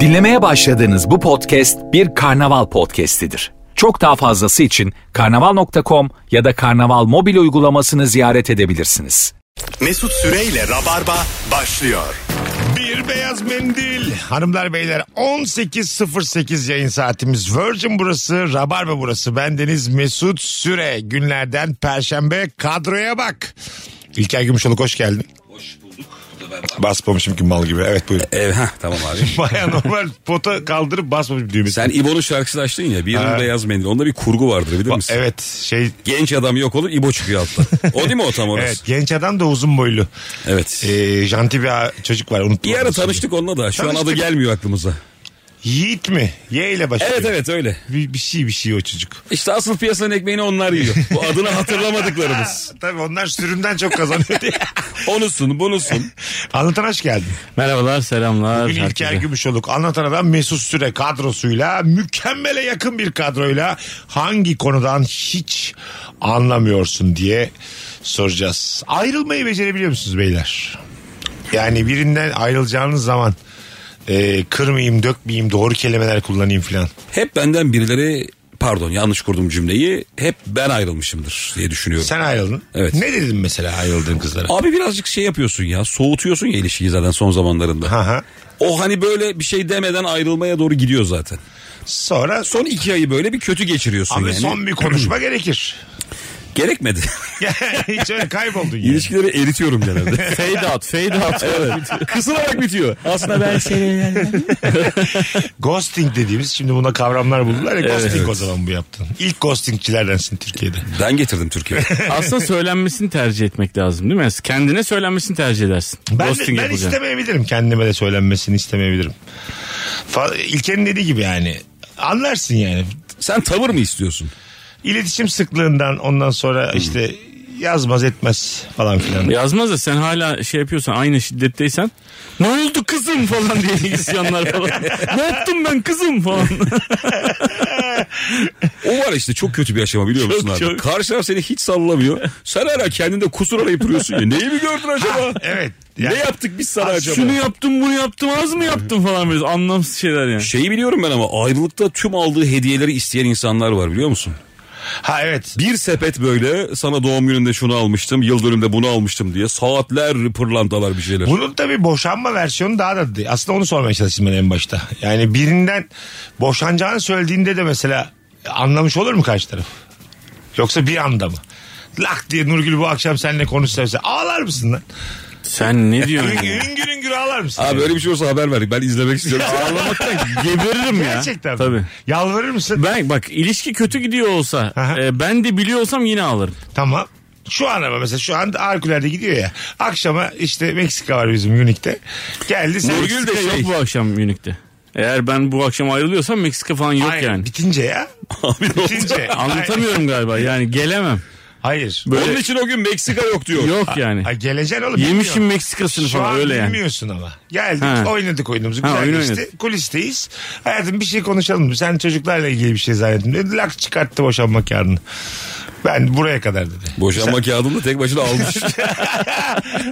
Dinlemeye başladığınız bu podcast bir karnaval podcastidir. Çok daha fazlası için karnaval.com ya da karnaval mobil uygulamasını ziyaret edebilirsiniz. Mesut Süreyle Rabarba başlıyor. Bir beyaz mendil. Hanımlar beyler 18.08 yayın saatimiz. Virgin burası, Rabarba burası. Bendeniz Mesut Süre. Günlerden Perşembe kadroya bak. İlker Gümüşoluk hoş geldin. Basmamışım ki mal gibi. Evet buyurun. Ev, heh, tamam abi. Baya normal pota kaldırıp basmamışım düğmesi. Sen İbo'nun şarkısını açtın ya. Bir Ha. beyaz mendil. Onda bir kurgu vardır bilir Ba- misin? Evet şey Genç adam yok olur İbo çıkıyor altta. O değil mi o tam Evet orası? genç adam da uzun boylu. Evet. E, Ee, janti bir a- çocuk var unuttum. bir ara adını. tanıştık onunla da. Şu an adı Tanıştık. gelmiyor aklımıza. Yiğit mi? Y ile başlıyor. Evet evet öyle. Bir, bir şey bir şey o çocuk. İşte asıl piyasanın ekmeğini onlar yiyor. Bu adını hatırlamadıklarımız. Tabii onlar sürümden çok kazanıyor diye. Onusun bunusun. Anlatan hoş geldin. Merhabalar, selamlar. Bugün İlker herkese. Gümüşoluk anlatan adam Mesut Süre kadrosuyla mükemmele yakın bir kadroyla hangi konudan hiç anlamıyorsun diye soracağız. Ayrılmayı becerebiliyor musunuz beyler? Yani birinden ayrılacağınız zaman e, kırmayayım dökmeyeyim doğru kelimeler kullanayım filan. Hep benden birileri pardon yanlış kurdum cümleyi. Hep ben ayrılmışımdır diye düşünüyorum. Sen ayrıldın. Evet. Ne dedin mesela ayrıldığın kızlara? Abi birazcık şey yapıyorsun ya soğutuyorsun ya ilişkiyi zaten son zamanlarında. Hı hı. O hani böyle bir şey demeden ayrılmaya doğru gidiyor zaten. Sonra Son iki ayı böyle bir kötü geçiriyorsun Abi yani. son bir konuşma gerekir. Gerekmedi. Hiç öyle kayboldun yani. İlişkileri eritiyorum genelde. Fade out, fade out. evet. Kısılarak bitiyor. Aslında ben Ghosting dediğimiz şimdi buna kavramlar buldular ya ghosting evet. o zaman bu yaptın. İlk ghostingçilerdensin Türkiye'de. Ben getirdim Türkiye'ye. Aslında söylenmesini tercih etmek lazım değil mi? Kendine söylenmesini tercih edersin. Ben, de- Ghosting ben yapılacak. istemeyebilirim kendime de söylenmesini istemeyebilirim. Fa- İlker'in dediği gibi yani anlarsın yani. Sen tavır mı istiyorsun? İletişim sıklığından ondan sonra işte yazmaz etmez falan filan. Yazmaz da sen hala şey yapıyorsan aynı şiddetteysen ne oldu kızım falan diye isyanlar falan. ne yaptım ben kızım falan. O var işte çok kötü bir aşama biliyor musun abi? çok. Karşı taraf seni hiç sallamıyor. Sen hala kendinde kusur arayıp duruyorsun ya. Neyi mi gördün acaba? Evet. ne Yani yaptık biz sana acaba? Şunu yaptım bunu yaptım az mı yaptım falan böyle anlamsız şeyler yani. Şeyi biliyorum ben ama ayrılıkta tüm aldığı hediyeleri isteyen insanlar var biliyor musun? ha evet. Bir sepet böyle sana doğum gününde şunu almıştım, yıl dönümde bunu almıştım diye saatler pırlantalar bir şeyler. Bunun tabii boşanma versiyonu daha da aslında onu sormaya çalıştım ben en başta. Yani birinden boşanacağını söylediğinde de mesela anlamış olur mu karşı taraf? Yoksa bir anda mı? Lak diye Nurgül bu akşam seninle konuşsa mesela ağlar mısın lan? Sen ne diyorsun ya? Üngür üngür ağlar mısın? Abi öyle bir şey olsa haber ver. Ben izlemek istiyorum. Ağlamaktan geberirim ya. Gerçekten. Tabii. Tabii. Yalvarır mısın? Ben bak ilişki kötü gidiyor olsa Aha. e, ben de biliyor olsam yine ağlarım. Tamam. Şu an ama mesela şu an harikulade gidiyor ya. Akşama işte Meksika var bizim Unique'de. Geldi sen. Nurgül de Meksika şey. yok bu akşam Münih'te. Eğer ben bu akşam ayrılıyorsam Meksika falan yok Aynen, yani. Bitince ya. bitince. Anlatamıyorum galiba yani gelemem. Hayır. Böyle Onun için o gün Meksika yok diyor. yok yani. Ay geleceksin oğlum. Yemişim bilmiyorum. Meksikasını Şu falan an öyle yani. bilmiyorsun ama. Geldik Ha. oynadık oyunumuzu. Ha, Güzel oyun geçti. oynadık. Kulisteyiz. Hayatım bir şey konuşalım. Sen çocuklarla ilgili bir şey zannettin. Dedi, lak çıkarttı boşanma kağıdını. Ben buraya kadar dedi. Boşanma kağıdını da tek başına almış. Şey-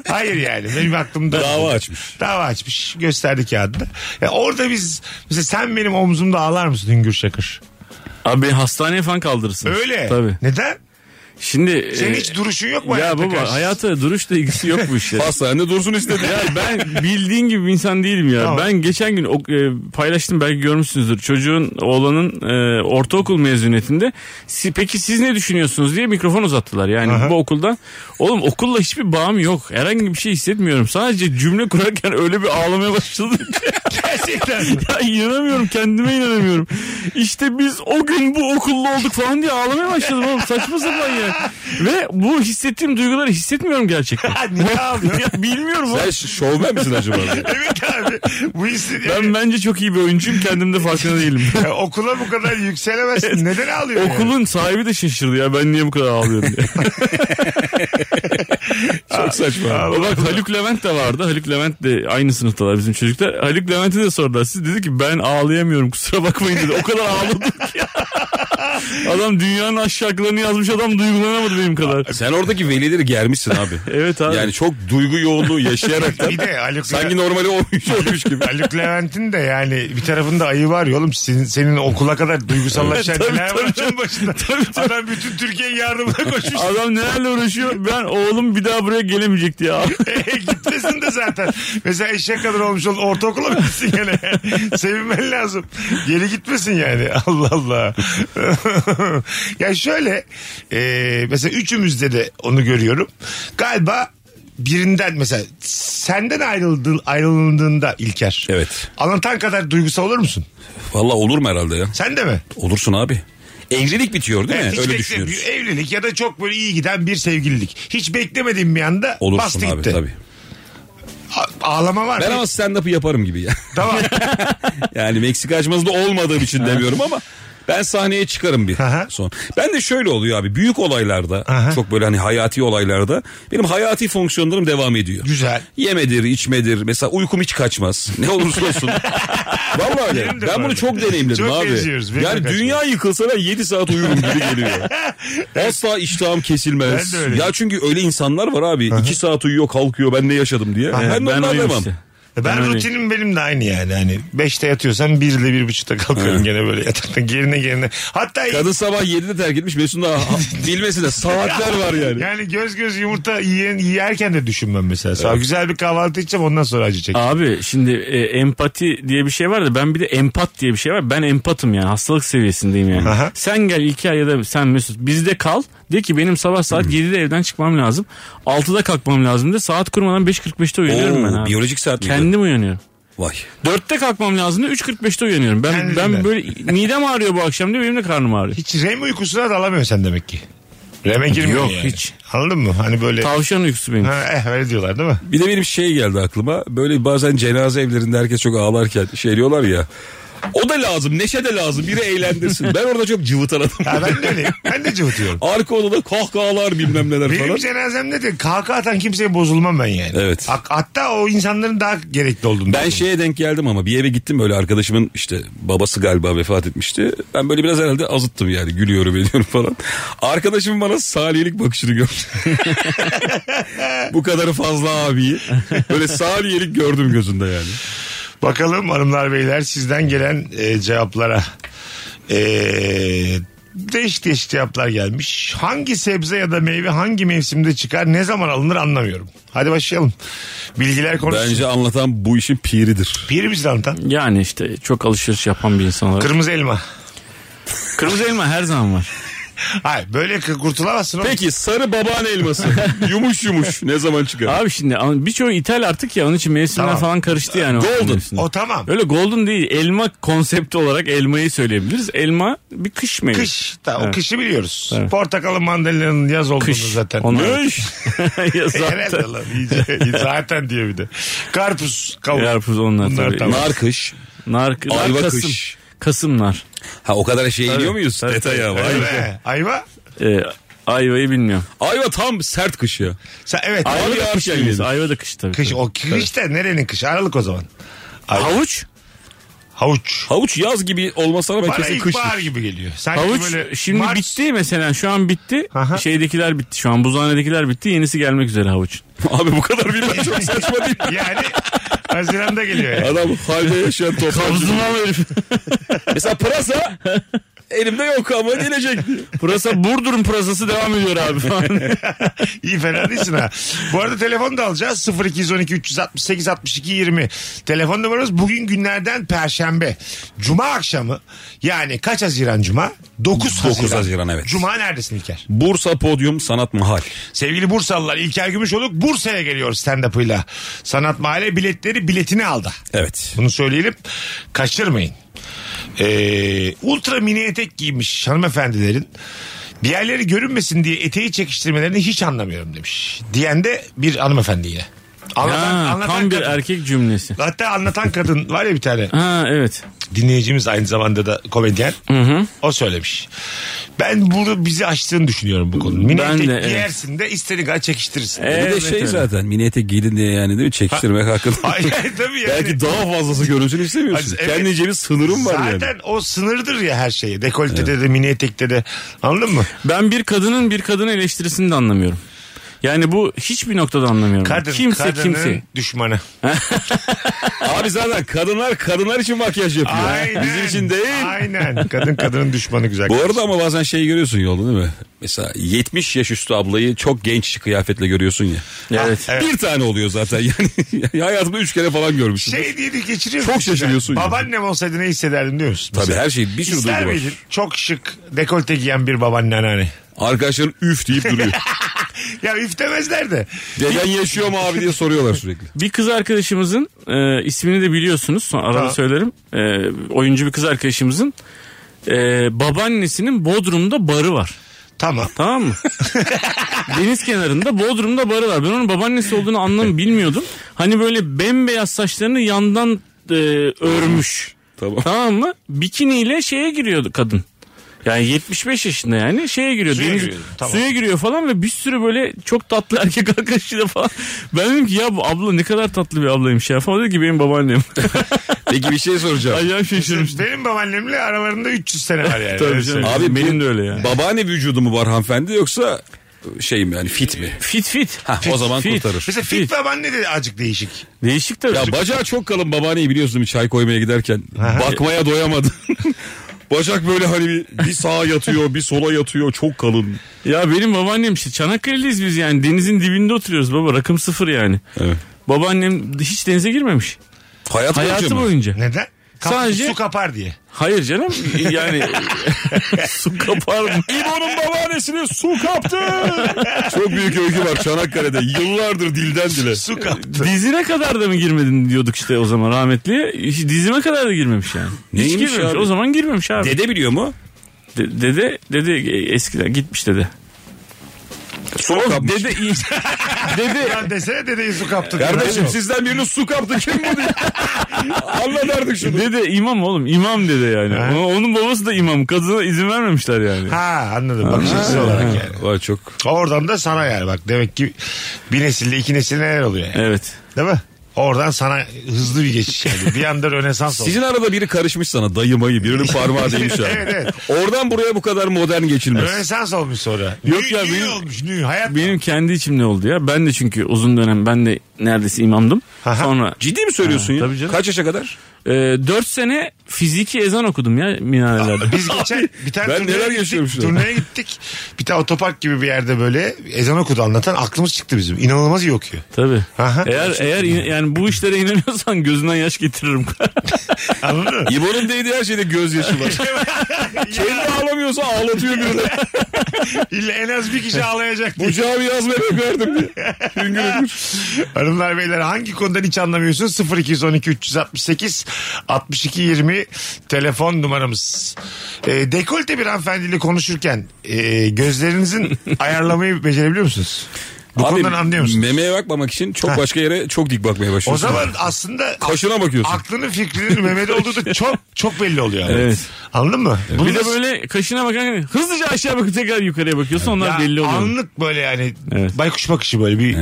Hayır yani benim aklımda. Dava açmış. Dava açmış. Gösterdi kağıdını. Ya orada biz mesela sen benim omzumda ağlar mısın Hüngür Şakır? Abi hastaneye falan kaldırırsın. Öyle. Tabii. Neden? Şimdi Senin e, hiç duruşun yok mu? ya hayata baba karşı? hayata duruşla ilgisi yok bu işlerin. Hastanede dursun istedi. Ya ben bildiğin gibi bir insan değilim ya. Tamam. Ben geçen gün ok- e, paylaştım belki görmüşsünüzdür. Çocuğun oğlanın e, ortaokul mezuniyetinde "Si- peki siz ne düşünüyorsunuz diye mikrofon uzattılar. Yani bu okuldan. Oğlum okulla hiçbir bağım yok. Herhangi bir şey hissetmiyorum. Sadece cümle kurarken öyle bir ağlamaya başladım. Gerçekten mi? ya inanamıyorum kendime inanamıyorum. İşte biz o gün bu okulda olduk falan diye ağlamaya başladım oğlum. Saçma sapan ya. Ve bu hissettiğim duyguları hissetmiyorum gerçekten. Niye ağlıyorsun? ya bilmiyorum oğlum. Sen ş- şovmen misin acaba? evet abi. Bu hissi... Ben bence çok iyi bir oyuncuyum kendimde farkında değilim. Ya okula bu kadar yükselemezsin. Neden ağlıyorsun? yani? Okulun sahibi de şaşırdı ya ben niye bu kadar ağlıyorum diye. Çok saçma. Ama Bak Haluk Levent de vardı. Haluk Levent de aynı sınıftalar bizim çocuklar. Haluk Levent'e de sordular. Siz dedi ki ben ağlayamıyorum kusura bakmayın dedi. O kadar ağladım ki. Adam dünyanın aşağılarını yazmış adam duygulanamadı benim kadar. Sen oradaki velileri germişsin abi. Evet abi. Yani çok duygu yoğunluğu yaşayarak Bir de Haluk, sanki normali olmuş olmuş gibi. Haluk Levent'in de yani bir tarafında ayı var ya oğlum senin, senin okula kadar duygusallaşan E, Tabii, neler var tabii adamın başında. Adam bütün Türkiye'nin yardımına koşmuş. Adam nelerle uğraşıyor? Ben oğlum bir daha buraya gelemeyecek diye. abi. E, Gitmesin de zaten. Mesela eşek kadar olmuş ol ortaokula mı gitsin gene? Sevinmen lazım. Geri gitmesin yani. Allah Allah. ya şöyle e, mesela üçümüzde de onu görüyorum. Galiba birinden mesela senden ayrıldığın, ayrıldığında İlker. Evet. Anlatan kadar duygusal olur musun? Valla olur mu herhalde ya? Sen de mi? Olursun abi. Evlilik bitiyor değil Evet, mi? hiç Öyle bekle- düşünüyoruz. bir Evlilik ya da çok böyle iyi giden bir sevgililik. Hiç beklemediğim bir anda Olursun bastı abi gitti. tabii. A- Ağlama var. Ben mı? ama stand-up'ı yaparım gibi ya. Tamam. Yani Meksika açmasında olmadığım için demiyorum ama ben sahneye çıkarım bir Aha. son. Ben de şöyle oluyor abi büyük olaylarda Aha. çok böyle hani hayati olaylarda benim hayati fonksiyonlarım devam ediyor. Güzel. Yemedir, içmedir. Mesela uykum hiç kaçmaz. Ne olursa olsun. Vallahi öyle. Benim de Ben böyle. bunu çok deneyimledim Çok abi. benziyoruz. Benim de yani kaçmaz. dünya yıkılsa ben 7 saat uyurum gibi geliyor. Asla iştahım kesilmez. Ben de öyle. Ya çünkü öyle insanlar var abi. 2 saat uyuyor kalkıyor ben ne yaşadım diye. Ben, ben oyum anlamam. işte. Ben, Ben öyleyim. rutinim benim de aynı yani. Hani 5'te yatıyorsam 1 ile 1.30'da kalkıyorum gene böyle yataktan gerine gerine. Hatta Kadın sabah 7'de terk etmiş Mesut'un daha bilmesine saatler var yani. yani göz göz yumurta yiyen, yerken de düşünmem mesela. Sağ güzel bir kahvaltı içeceğim ondan sonra acı çekeceğim. Abi şimdi e, empati diye bir şey var da ben bir de empat diye bir şey var. Ben empatım yani hastalık seviyesindeyim yani. Aha. Sen gel İlker ya da sen Mesut bizde kal. De ki benim sabah saat 7'de evden çıkmam lazım. 6'da kalkmam lazım de saat kurmadan 5.45'te uyanıyorum Oo, ben abi. biyolojik saat miydi? Kendim uyanıyorum. Vay. 4'te kalkmam lazım da 3.45'te uyanıyorum. Ben Kendinden. ben böyle midem ağrıyor bu akşam diye benim de karnım ağrıyor. Hiç REM uykusuna dalamıyorsun sen demek ki. REM'e girmiyor Yok, yani. hiç. Anladın mı? Hani böyle Tavşan uykusu benim. ha, eh öyle diyorlar değil mi? Bir de benim şey geldi aklıma. Böyle bazen cenaze evlerinde herkes çok ağlarken şey diyorlar ya. O da lazım, neşe de lazım. Biri eğlendirsin. Ben orada çok cıvıtan Ha, adamım. ben de öyleyim. Ben de cıvıtıyorum. Arka odada kahkahalar bilmem neler Benim falan. cenazemde de kahkaha atan kimseye bozulmam ben yani. Evet. Hak- Hatta o insanların daha gerekli olduğunu Ben şey- düşünüyorum. şeye denk geldim ama bir eve gittim böyle arkadaşımın işte babası galiba vefat etmişti. Ben böyle biraz herhalde azıttım yani gülüyorum ediyorum falan. Arkadaşım bana saliyelik bakışını gördü. Bu kadarı fazla abi. Böyle saliyelik gördüm gözünde yani. Bakalım hanımlar beyler sizden gelen e, cevaplara. E, değişik değişik cevaplar gelmiş. Hangi sebze ya da meyve hangi mevsimde çıkar ne zaman alınır anlamıyorum. Hadi başlayalım. Bilgiler konuşsun. Bence anlatan bu işin piridir. Piri misin anlatan? Yani işte çok alışveriş yapan bir insan olarak. Kırmızı elma. Kırmızı elma her zaman var. Hayır böyle kı- kurtulamazsın. oğlum. Peki sarı babaan elması. yumuş yumuş ne zaman çıkar? Abi şimdi ama birçoğu ithal artık ya onun için mevsimler Tamam. falan karıştı yani. o Golden. mevsimler. O tamam. Öyle golden değil. Elma konsepti olarak elmayı söyleyebiliriz. Elma bir kış meyvesi. Kış. Tamam, Evet. Kışı biliyoruz. Portakalın mandalina'nın yaz olduğunu Kış. zaten. Onlar- ya zaten. Herhalde lan. iyice- zaten diyor bir de. Karpuz. Kavun. Yarpuz onlar Bunlar tabii. tamam. Nar kış. Nar, nar Ayva Kasım. kış. Kasımlar. Ha o kadar şey iniyor muyuz? Tabii. Detaya vay be. Ayva. Ayva. Ee, ayvayı bilmiyorum. Ayva tam sert kış ya. Sen, evet. Ayva da yağar kış. şey diyoruz. yedim. Ayva da kış tabii. Kış tabii. o kış da nerenin kışı? Aralık o zaman. Ay- Havuç. Havuç. Havuç yaz gibi olmasına ben Bana E, kesin kış. ilkbahar gibi geliyor. Sanki Havuç böyle şimdi Mart- bitti mesela şu an bitti. Aha. Şeydekiler bitti şu an buzhanedekiler bitti. Yenisi gelmek üzere havuç. Abi bu kadar bilmem çok saçma değil. mi? Yani Haziran'da geliyor yani. Adam halde yaşayan toplamcı. Mesela pırasa elimde yok ama gelecek. Pırasa Burdur'un pırasası devam ediyor abi falan. İyi fena değilsin ha. Bu arada telefon da alacağız. 0212 368 62 20. Telefon numaramız bugün günlerden perşembe. Cuma akşamı yani kaç Haziran Cuma? 9 Haziran. Haziran, evet. Cuma neredesin İlker? Bursa Podyum Sanat Mahal. Sevgili Bursalılar İlker Gümüşoluk Bursa'ya geliyor stand-up'ıyla. Sanat Mahalle biletleri biletini aldı. Evet. Bunu söyleyelim. Kaçırmayın. Ee, ultra mini etek giymiş hanımefendilerin diğerleri görünmesin diye eteği çekiştirmelerini hiç anlamıyorum demiş. Diyen de bir hanımefendi yine. Anlatan, Ha, anlatan tam bir kadın. erkek cümlesi. Hatta anlatan kadın var ya bir tane Ha evet. dinleyicimiz aynı zamanda da komedyen. O söylemiş. Ben burada bizi açtığını düşünüyorum bu konu. Mini Ben etek de, evet. giyersin de istediğin kadar çekiştirirsin. E- Bir de Evet, şey öyle. zaten mini etek giydin diye yani değil mi? Çekiştirmek hakkında. Hayır tabii yani. Belki daha fazlası görünsün istemiyorsun. Evet. Kendince bir sınırın var yani. Zaten o sınırdır ya her şeye. Dekoltede de mini etekte de. Anladın mı? Ben bir kadının bir kadını eleştirisini de anlamıyorum. Yani bu hiçbir noktada anlamıyorum. Kadın, kimse kadının kimse. düşmanı. Abi zaten kadınlar kadınlar için makyaj yapıyor. Aynen. Bizim için değil. Aynen. Kadın kadının düşmanı güzel. Bu arada ama bazen şey görüyorsun yolda değil mi? Mesela 70 yaş üstü ablayı çok genç kıyafetle görüyorsun ya. Evet. Evet. Bir tane oluyor zaten yani. hayatımda üç kere falan görmüşüm. şey diye de geçiriyor Çok musun sen? şaşırıyorsun ya. Babaannem olsaydı ne hissederdim diyor musun? Tabii Mesela? her şey bir sürü İster duygu var. miydin? Çok şık dekolte giyen bir babaanne anneanne. Arkadaşların üf deyip duruyor. Ya üftemezler de. Deden yaşıyor mu abi diye soruyorlar sürekli. Bir kız arkadaşımızın e, ismini de biliyorsunuz. Son arada Ha. söylerim. E, oyuncu bir kız arkadaşımızın e, babaannesinin Bodrum'da barı var. Tamam. Tamam mı? Deniz kenarında Bodrum'da barı var. Ben onun babaannesi olduğunu anlam bilmiyordum. Hani böyle bembeyaz saçlarını yandan e, örmüş. Tamam. Tamam mı? Bikiniyle şeye giriyordu kadın. Yani 75 yaşında yani şeye giriyor. Suya deniz, giriyor, tamam. Suya giriyor falan ve bir sürü böyle çok tatlı erkek arkadaşıyla falan. Ben dedim ki ya bu abla ne kadar tatlı bir ablaymış ya falan. Dedi ki benim babaannem. Peki bir şey soracağım. Acayip şaşırmıştım. Benim babaannemle aralarında 300 sene var yani. Tabii Öyle canım. söyleyeyim. Abi Benim benim de öyle ya. Babaanne vücudu mu var hanımefendi yoksa şey mi yani fit mi? Fit fit. Ha, o zaman fit. kurtarır. Mesela fit babaanne de azıcık değişik. Değişik tabii. Ya bacağı çok kalın babaanneyi biliyorsun bir çay koymaya giderken. Bakmaya doyamadı. Bacak böyle hani bir, bir sağa yatıyor bir sola yatıyor çok kalın. Ya benim babaannem işte Çanakkale'liyiz biz yani denizin dibinde oturuyoruz baba rakım sıfır yani. Evet. Babaannem hiç denize girmemiş Hayat hayatı boyunca. Neden? Kap- Sadece- Su kapar diye. Hayır canım yani su kapar mı? İbo'nun babaannesine su kaptı. Çok büyük öykü var Çanakkale'de. Yıllardır dilden dile. Su kaptı. Dizine kadar da mı girmedin diyorduk işte o zaman rahmetliye. Hiç Dizime kadar da girmemiş yani. Neymiş hiç girmemiş. abi? O zaman girmemiş abi. Dede biliyor mu? De- dede dede e, eskiden gitmiş dede. Su mu kapmış? Dede iyi. dede Lan desene dedeyi su kaptı. Kardeşim Yok. sizden birinin su kaptı kim bu diye. Anlat artık şunu. dede imam oğlum imam dede yani. Ha. Onun- Onun babası da imam. Kadına izin vermemişler yani. Ha anladım. Bakış açısı olarak yani. Var çok. Oradan da sana yani bak demek ki bir nesille iki nesil neler oluyor yani. Evet. Değil mi? Oradan sana hızlı bir geçiş yani. Bir anda Rönesans oldu. Sizin arada biri karışmış sana dayımayı birinin parmağı değmiş abi. Evet, evet. Oradan buraya bu kadar modern geçilmez. Rönesans olmuş sonra. Yok Nü- ya, nü benim- olmuş nü hayat. Benim kendi içimde oldu ya. Ben de çünkü uzun dönem ben de neredeyse imamdım. Aha. Sonra Ciddi mi söylüyorsun Ha, ya? tabii canım. Kaç yaşa kadar? e, 4 sene fiziki ezan okudum ya minarelerde. Biz geçen bir tane ben turneye neler gittik, yaşıyorum şu an. Turneye gittik. Bir tane otopark gibi bir yerde böyle ezan okudu anlatan aklımız çıktı bizim. İnanılmaz iyi okuyor. Tabii. Aha. Eğer eğer in- yani bu işlere inanıyorsan gözünden yaş getiririm. Anladın mı? İbo'nun değdiği her şeyde gözyaşı var. Kendi ağlamıyorsa ağlatıyor birini. İlla en az bir kişi ağlayacak diye. Bu cami yazmaya verdim diye. Hanımlar beyler hangi konudan hiç anlamıyorsunuz? 0212 368 62 20 telefon numaramız. E, dekolte bir hanımefendiyle konuşurken e, gözlerinizin ayarlamayı becerebiliyor musunuz? Bu konudan anlıyor musunuz? Memeye bakmamak için çok başka yere çok dik bakmaya O başlıyorsun. zaman aslında Kaşına bakıyorsun. aklının fikrinin Mehmet'e olduğu da çok çok belli oluyor. ama. Evet. Anladın mı? Bunu bir de nasıl- böyle kaşına bakan hızlıca aşağı bakıp tekrar yukarıya bakıyorsun onlar Ya belli oluyor. Anlık böyle yani Evet. baykuş bakışı böyle bir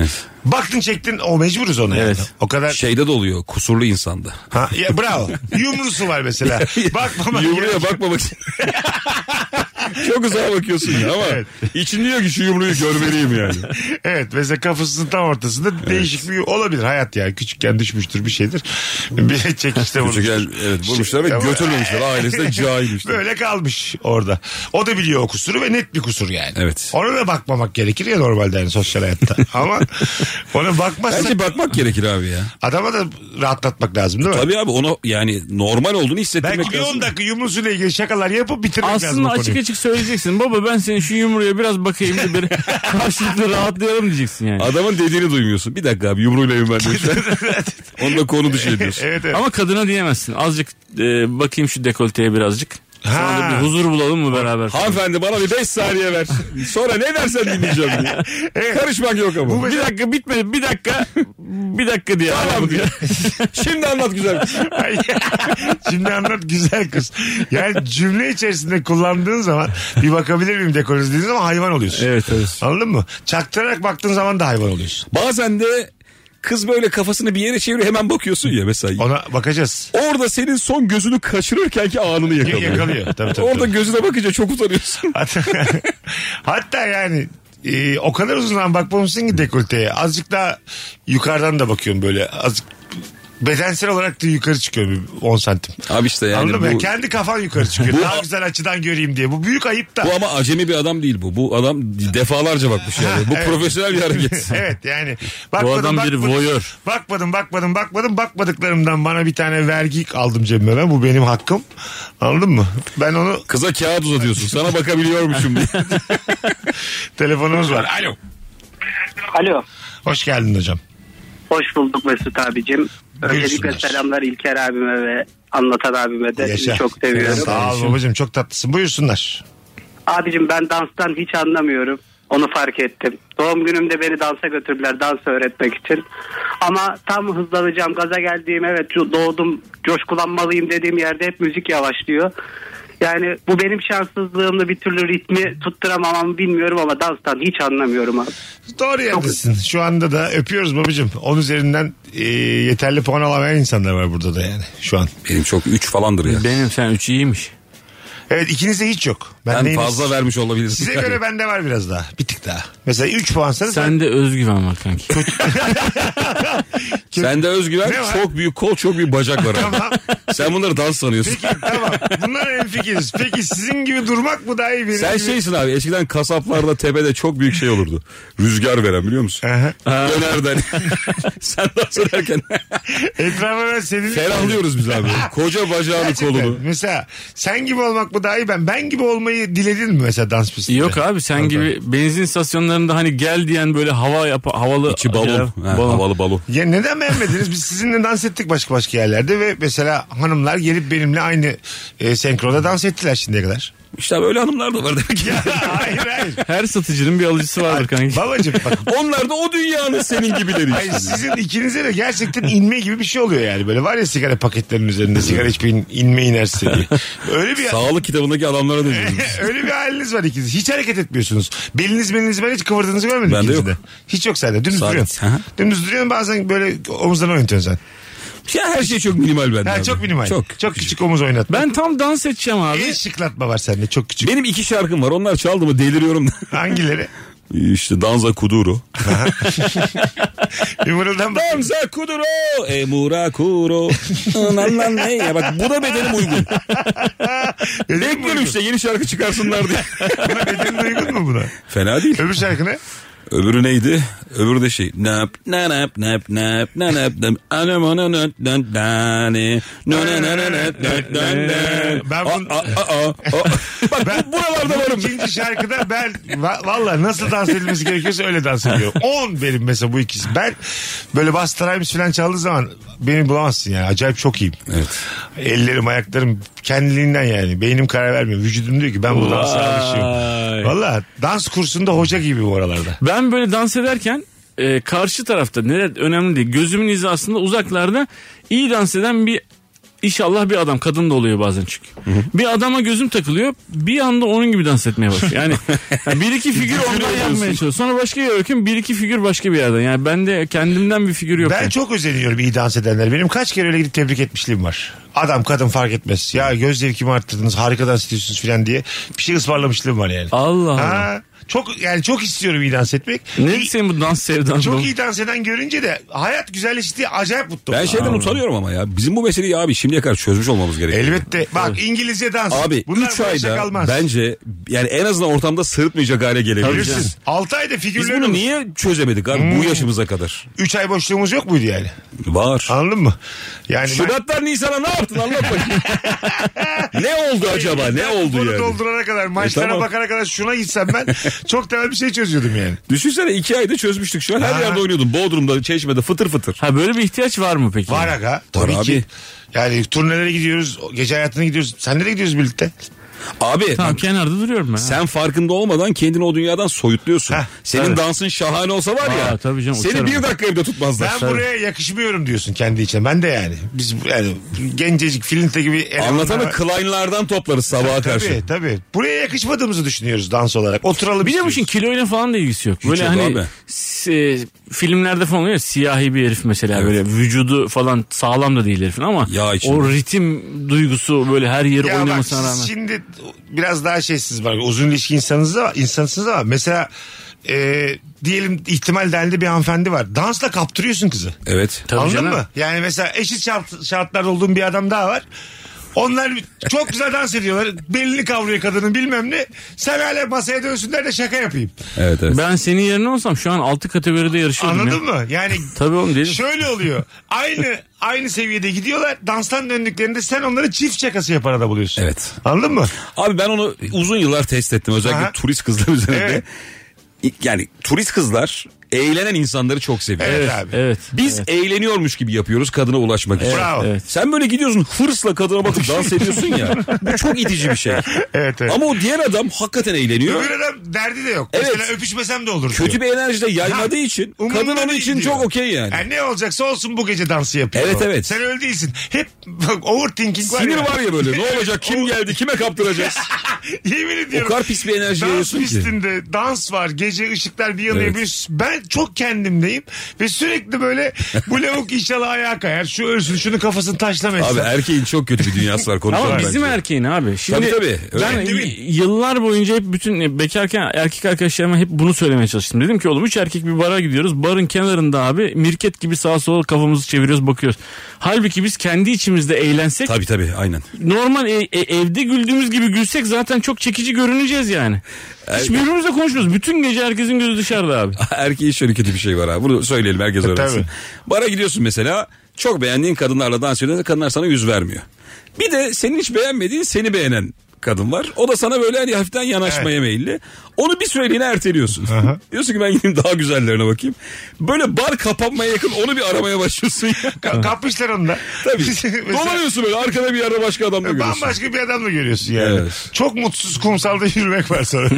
baktın çektin o mecburuz ona Evet. Şey yani. O kadar Şeyde de oluyor kusurlu insanda. Ha, ya, bravo. Yumrusu var mesela. Bakmamak Yumruya gerek. bakmamak için. çok uzağa bakıyorsun ya ama Evet. için diyor ki şu yumruyu görmeliyim yani. Evet mesela kafasının tam ortasında değişik bir olabilir hayat yani. Küçükken düşmüştür bir şeydir. Bir çekişte vurmuş. Küçükken evet, vurmuşlar ve Ama- götürmemişler. Ailesi de cahilmiş. Böyle kalmış orada. O da biliyor o kusuru ve net bir kusur yani. Evet. Ona da bakmamak gerekir ya normalde yani sosyal hayatta. Ama ona bakmazsa Bence şey bakmak gerekir abi ya. adama da rahatlatmak lazım değil mi? Tabii abi onu yani normal olduğunu hissettirmek Belki bir lazım. 10 dakika yumrusuyla ilgili şakalar yapıp bitirmek lazım. Aslında bu konuyu. açık açık söyleyeceksin. Baba ben senin şu yumruya biraz bakayım da bir karşılıklı rahatlayalım diyeceksin yani. Adamın dediğini duymuyorsun. Bir dakika abi yumruğuyla yumruğuyla. Onunla konu dışı ediyorsun. Evet evet. Ama kadına diyemezsin. Azıcık e, bakayım şu dekolteye birazcık. Sonra da Ha. bir huzur bulalım mı beraber? Hanımefendi bana bir 5 saniye ver. Sonra ne dersen dinleyeceğim diye. Karışmak yok ama. bir dakika bitmedi. Bir dakika. bir dakika diye. Tamam diyor. Şimdi anlat güzel. Şimdi anlat güzel kız. Yani cümle içerisinde kullandığın zaman bir bakabilir miyim dekolojisi dediğin zaman hayvan oluyorsun. Evet evet. Anladın mı? Çaktırarak baktığın zaman da hayvan oluyorsun. Bazen de kız böyle kafasını bir yere çeviriyor hemen bakıyorsun ya mesela. Ona bakacağız. Orada senin son gözünü kaçırırken ki anını yakalıyor. Yakalıyor. Tabii, tabii, Orada tabii. gözüne bakınca çok utanıyorsun. Hatta, hatta yani e, o kadar uzun zaman bakmamışsın ki dekolteye. Azıcık daha yukarıdan da bakıyorum böyle. Azıcık bedensel olarak da yukarı çıkıyorum bir 10 santim. Abi işte yani Anladın mı? bu, Kendi kafan yukarı çıkıyor. Bu- daha güzel açıdan göreyim diye. Bu büyük ayıp da. bu ama acemi bir adam değil bu. Bu adam defalarca bakmış yani. Bu Evet. profesyonel bir hareket. evet yani. Bakmadım, adam bir bakmadım, voyeur. Bakmadım bakmadım bakmadım bakmadıklarımdan bana bir tane vergi aldım cebime ben. Bu benim hakkım. Anladın mı? Ben onu Kıza kağıt uzatıyorsun. Sana bakabiliyormuşum diye. telefonumuz var. Alo. Alo. Hoş geldin hocam. Hoş bulduk Mesut abicim. Öncelikle Buyursunlar. selamlar İlker abime ve anlatan abime de Yaşa. çok seviyorum. Sağ ol babacığım çok tatlısın. Buyursunlar. Abicim ben danstan hiç anlamıyorum. Onu fark ettim. Doğum günümde beni dansa götürdüler dans öğretmek için. Ama tam hızlanacağım gaza geldiğim evet co- doğdum coşkulanmalıyım dediğim yerde hep müzik yavaşlıyor. Yani bu benim şanssızlığımla bir türlü ritmi tutturamamamı bilmiyorum ama danstan hiç anlamıyorum abi. Doğru yerdesin. Şu anda da öpüyoruz babacığım. Onun üzerinden e, yeterli puan alamayan insanlar var burada da yani şu an. Benim çok 3 falandır ya. Benim sen üç iyiymiş. Evet ikinizde hiç yok. Ben Ben neyiniz- fazla vermiş olabilirsin. Size göre bende var biraz daha. Bir tık daha. Mesela 3 puansanız Sende özgüven var kanki. Sende özgüven Ne var? çok büyük kol çok büyük bacak var. abi. Tamam. Sen bunları dans sanıyorsun. Peki tamam. Bunlar en fikiriz. Peki sizin gibi durmak mı daha iyi? Benim Sen şey- gibi... şeysin abi eskiden kasaplarda tepede çok büyük şey olurdu. Rüzgar veren biliyor musun? Aha. Dönerden. Sen dans ederken Etrafa ben senin... ferahlıyoruz biz abi. Koca bacağını Gerçekten. kolunu. Mesela sen gibi olmak mı daha iyi ben? Ben gibi olmayı diledin mi mesela dans pistinde? Yok abi sen gibi benzin istasyonlarında hani gel diyen böyle hava yap havalı İçi balon. Ya, Ha, balon. Havalı balon. Ya neden beğenmediniz? Biz sizinle dans ettik başka başka yerlerde ve mesela hanımlar gelip benimle aynı e, senkroda dans ettiler şimdiye kadar. İşte abi öyle hanımlar da var demek ki. Ya hayır hayır. Her satıcının bir alıcısı vardır kanki. Babacım bak Onlar da o dünyanın senin gibileri Hayır, işte. sizin ikinize de gerçekten inme gibi bir şey oluyor yani. Böyle var ya sigara paketlerinin üzerinde sigara içmeyin inme inerse diye. Öyle bir Sağlık kitabındaki adamlara dönüyoruz. biz. Öyle bir haliniz var ikiniz. Hiç hareket etmiyorsunuz. Beliniz beliniz ben hiç kıvırdığınızı görmedim Bende ikinizde. yok. Hiç yok sende. Dümdüz Sabit. duruyorsun. Aha. Dümdüz duruyorsun bazen böyle omuzdan oynatıyorsun sen. Ya her şey çok minimal bende. Ha, abi. çok minimal. Çok, Çok. küçük. omuz oynatma. Ben tam dans edeceğim abi. El şıklatma var sende çok küçük. Benim iki şarkım var. Onlar çaldı mı deliriyorum da. Hangileri? İşte Danza Kuduro. Bir mırıldan bak. Danza Kuduro. Emura Kuro. Lan lan ne ya bak bu da bedenim uygun. Bedenin Bekliyorum uygun. işte yeni şarkı çıkarsınlar diye. Buna bedenin uygun mu buna? Fena değil. Öbür şarkı ne? Öbürü neydi? Öbürü de şey. Nap nap nap nap nap nap nap anam anam nap nap nani no no no no nap nap nap Ben bun- Aa, aa, aa, aa. Bak bu buralarda Bu varım. İkinci şarkıda ben va- valla nasıl dans edilmesi gerekiyorsa öyle dans ediyorum. 10 benim mesela bu ikisi. Ben böyle Buster Rhymes falan çaldığı zaman beni bulamazsın yani. Acayip çok iyiyim. Ellerim ayaklarım kendiliğinden yani. Beynim karar vermiyor. Vücudum diyor ki ben bu dansa alışıyorum. Valla dans kursunda hoca gibi bu aralarda. Ben böyle dans ederken e, karşı tarafta neler önemli değil. Gözümün hizasında uzaklarda iyi dans eden bir inşallah bir adam kadın da oluyor bazen çünkü. Bir adama gözüm takılıyor. Bir anda onun gibi dans etmeye başlıyor. Yani yani bir iki figür ondan yapmaya çalışıyor. Sonra başka yere bakıyorum. Bir iki figür başka bir yerden. Yani bende kendimden bir figür yok. Ben yani. çok özeniyorum iyi dans edenler. Benim kaç kere öyle gidip tebrik etmişliğim var. Adam kadın fark etmez. Ya göz zevkimi arttırdınız harika dans ediyorsunuz falan diye bir şey ısmarlamışlığım var yani. Allah Allah. Ha, çok yani çok istiyorum iyi dans etmek. Ne İyi- senin bu dans sevdan? çok bu? iyi dans eden görünce de hayat güzelleşti acayip mutlu. Ben şey- şeyden utanıyorum ama ya. Bizim bu meseleyi abi şimdiye kadar çözmüş olmamız gerekiyor. Elbette. Bak İngilizce dans. Abi Bunlar 3 başa ayda kalmaz. bence yani en azından ortamda sırıtmayacak hale gelebiliriz. 6 ayda Biz figürler bunu niye çözemedik abi Hmm. bu yaşımıza kadar? 3 ay boşluğumuz yok muydu yani? Var. Anladın mı? Yani ben- Şubatlar Nisan'a ne yaptın anlat bakayım. ne oldu acaba ne oldu Bunu yani? E, doldurana kadar maçlara tamam. bakana kadar şuna gitsem ben Çok temel bir şey çözüyordum yani. Düşünsene iki ayda çözmüştük şu an. Her Ha. yerde oynuyordum. Bodrum'da, Çeşme'de fıtır fıtır. Ha böyle bir ihtiyaç var mı peki? Var aga. Tabii Var ki. abi. Yani turnelere gidiyoruz. Gece hayatına gidiyoruz. Sen nereye gidiyoruz birlikte? Abi Tamam kenarda duruyorum ben. sen farkında olmadan kendini o dünyadan soyutluyorsun. Heh, Senin tabii. dansın şahane olsa var ya. Aa, tabii canım, seni uçarım bir ben. dakika evde tutmazlar. Ben buraya yakışmıyorum diyorsun kendi içine. Ben de yani. Biz bu- yani gencecik filinte gibi. elemanlara- Anlatanı Klein'lardan toplarız sabaha karşı. Tabii tabii. Buraya yakışmadığımızı düşünüyoruz dans olarak. Oturalım Bir de bu istiyoruz. işin kiloyla falan da ilgisi yok. Böyle yok hani abi. s- e, filmlerde falan oluyor ya, siyahi bir herif mesela böyle vücudu falan sağlam da değil herifin ama Yağ içinde. o ritim duygusu böyle her yeri Ya bak, oynamasına rağmen. Şimdi biraz daha şeysiz var. Uzun ilişki insanınız ama, insansınız ama mesela e, diyelim ihtimal dahilinde bir hanımefendi var. Dansla kaptırıyorsun kızı. Evet. Tabii Anladın canım. mı? Yani mesela eşit şart, şartlarda olduğum bir adam daha var. Onlar çok güzel dans ediyorlar. Belini kavruyor kadının bilmem ne. Sen hala masaya dönsünler de şaka yapayım. Evet evet. Ben senin yerine olsam şu an 6 kategoride yarışıyordum Anladın ya. mı? Yani Tabii oğlum dedim. Şöyle oluyor. Aynı aynı seviyede gidiyorlar. Danstan döndüklerinde sen onları çift şakası yapar arada buluyorsun. Evet. Anladın mı? Abi ben onu uzun yıllar test ettim. Özellikle Aha. turist kızlar üzerinde. Yani turist kızlar eğlenen insanları çok seviyor. Evet, abi. Evet. Biz eğleniyormuş gibi yapıyoruz kadına ulaşmak için. Bravo. evet. Sen böyle gidiyorsun hırsla kadına bakıp dans ediyorsun ya. Bu çok itici bir şey. Evet, evet. Ama o diğer adam hakikaten eğleniyor. Öbür adam derdi de yok. Evet. Mesela öpüşmesem de olur. Kötü diyor. bir enerji de yaymadığı için Umurunda kadın onun değil için diyor. çok okey yani. Yani ne olacaksa olsun bu gece dansı yapıyor. Evet, evet. Sen öyle değilsin. Hep bak, overthinking var Sinir ya. var ya böyle ne olacak kim geldi kime kaptıracağız. Yemin ediyorum. kadar pis bir enerji Dans yayıyorsun ki. pistinde dans var. Gece ışıklar bir yanıyor. Evet. bir- Ben çok kendimdeyim. Ve sürekli böyle bu lavuk inşallah ayağa kayar. Şu ölsün şunu kafasını taşlamayasın. Abi er- erkeğin çok kötü bir dünyası var konuşalım Ama bence. bizim erkeğin abi. Şimdi Tabii, tabii. Öyle. ben Değil mi? y- yıllar boyunca hep bütün e, bekarken erkek arkadaşlarıma hep bunu söylemeye çalıştım. Dedim ki oğlum üç erkek bir bara gidiyoruz. Barın kenarında abi mirket gibi sağa sola kafamızı çeviriyoruz bakıyoruz. Halbuki biz kendi içimizde eğlensek Tabii tabii aynen. normal e- e- evde güldüğümüz gibi gülsek zaten çok çekici görüneceğiz yani. Hiç birbirimizle konuşmuyoruz. Bütün gece herkesin gözü dışarıda abi. Erkeğin şöyle kötü bir şey var abi. Bunu söyleyelim herkes öğrensin. E, tabii. Bara gidiyorsun mesela. Çok beğendiğin kadınlarla dans ediyorsun. Kadınlar sana yüz vermiyor. Bir de senin hiç beğenmediğin seni beğenen kadın var. O da sana böyle hani hafiften yanaşmaya meyilli. Onu bir süreliğine erteliyorsun. Diyorsun ki ben gideyim daha güzellerine bakayım. Böyle bar kapanmaya yakın onu bir aramaya başlıyorsun ya. Ka- kapmışlar onu da. Tabii. Mesela- E, Dolanıyorsun böyle arkada bir yerde başka adamla görüyorsun. Bambaşka bir adam da görüyorsun yani. Evet. Çok mutsuz kumsalda yürümek var sonra.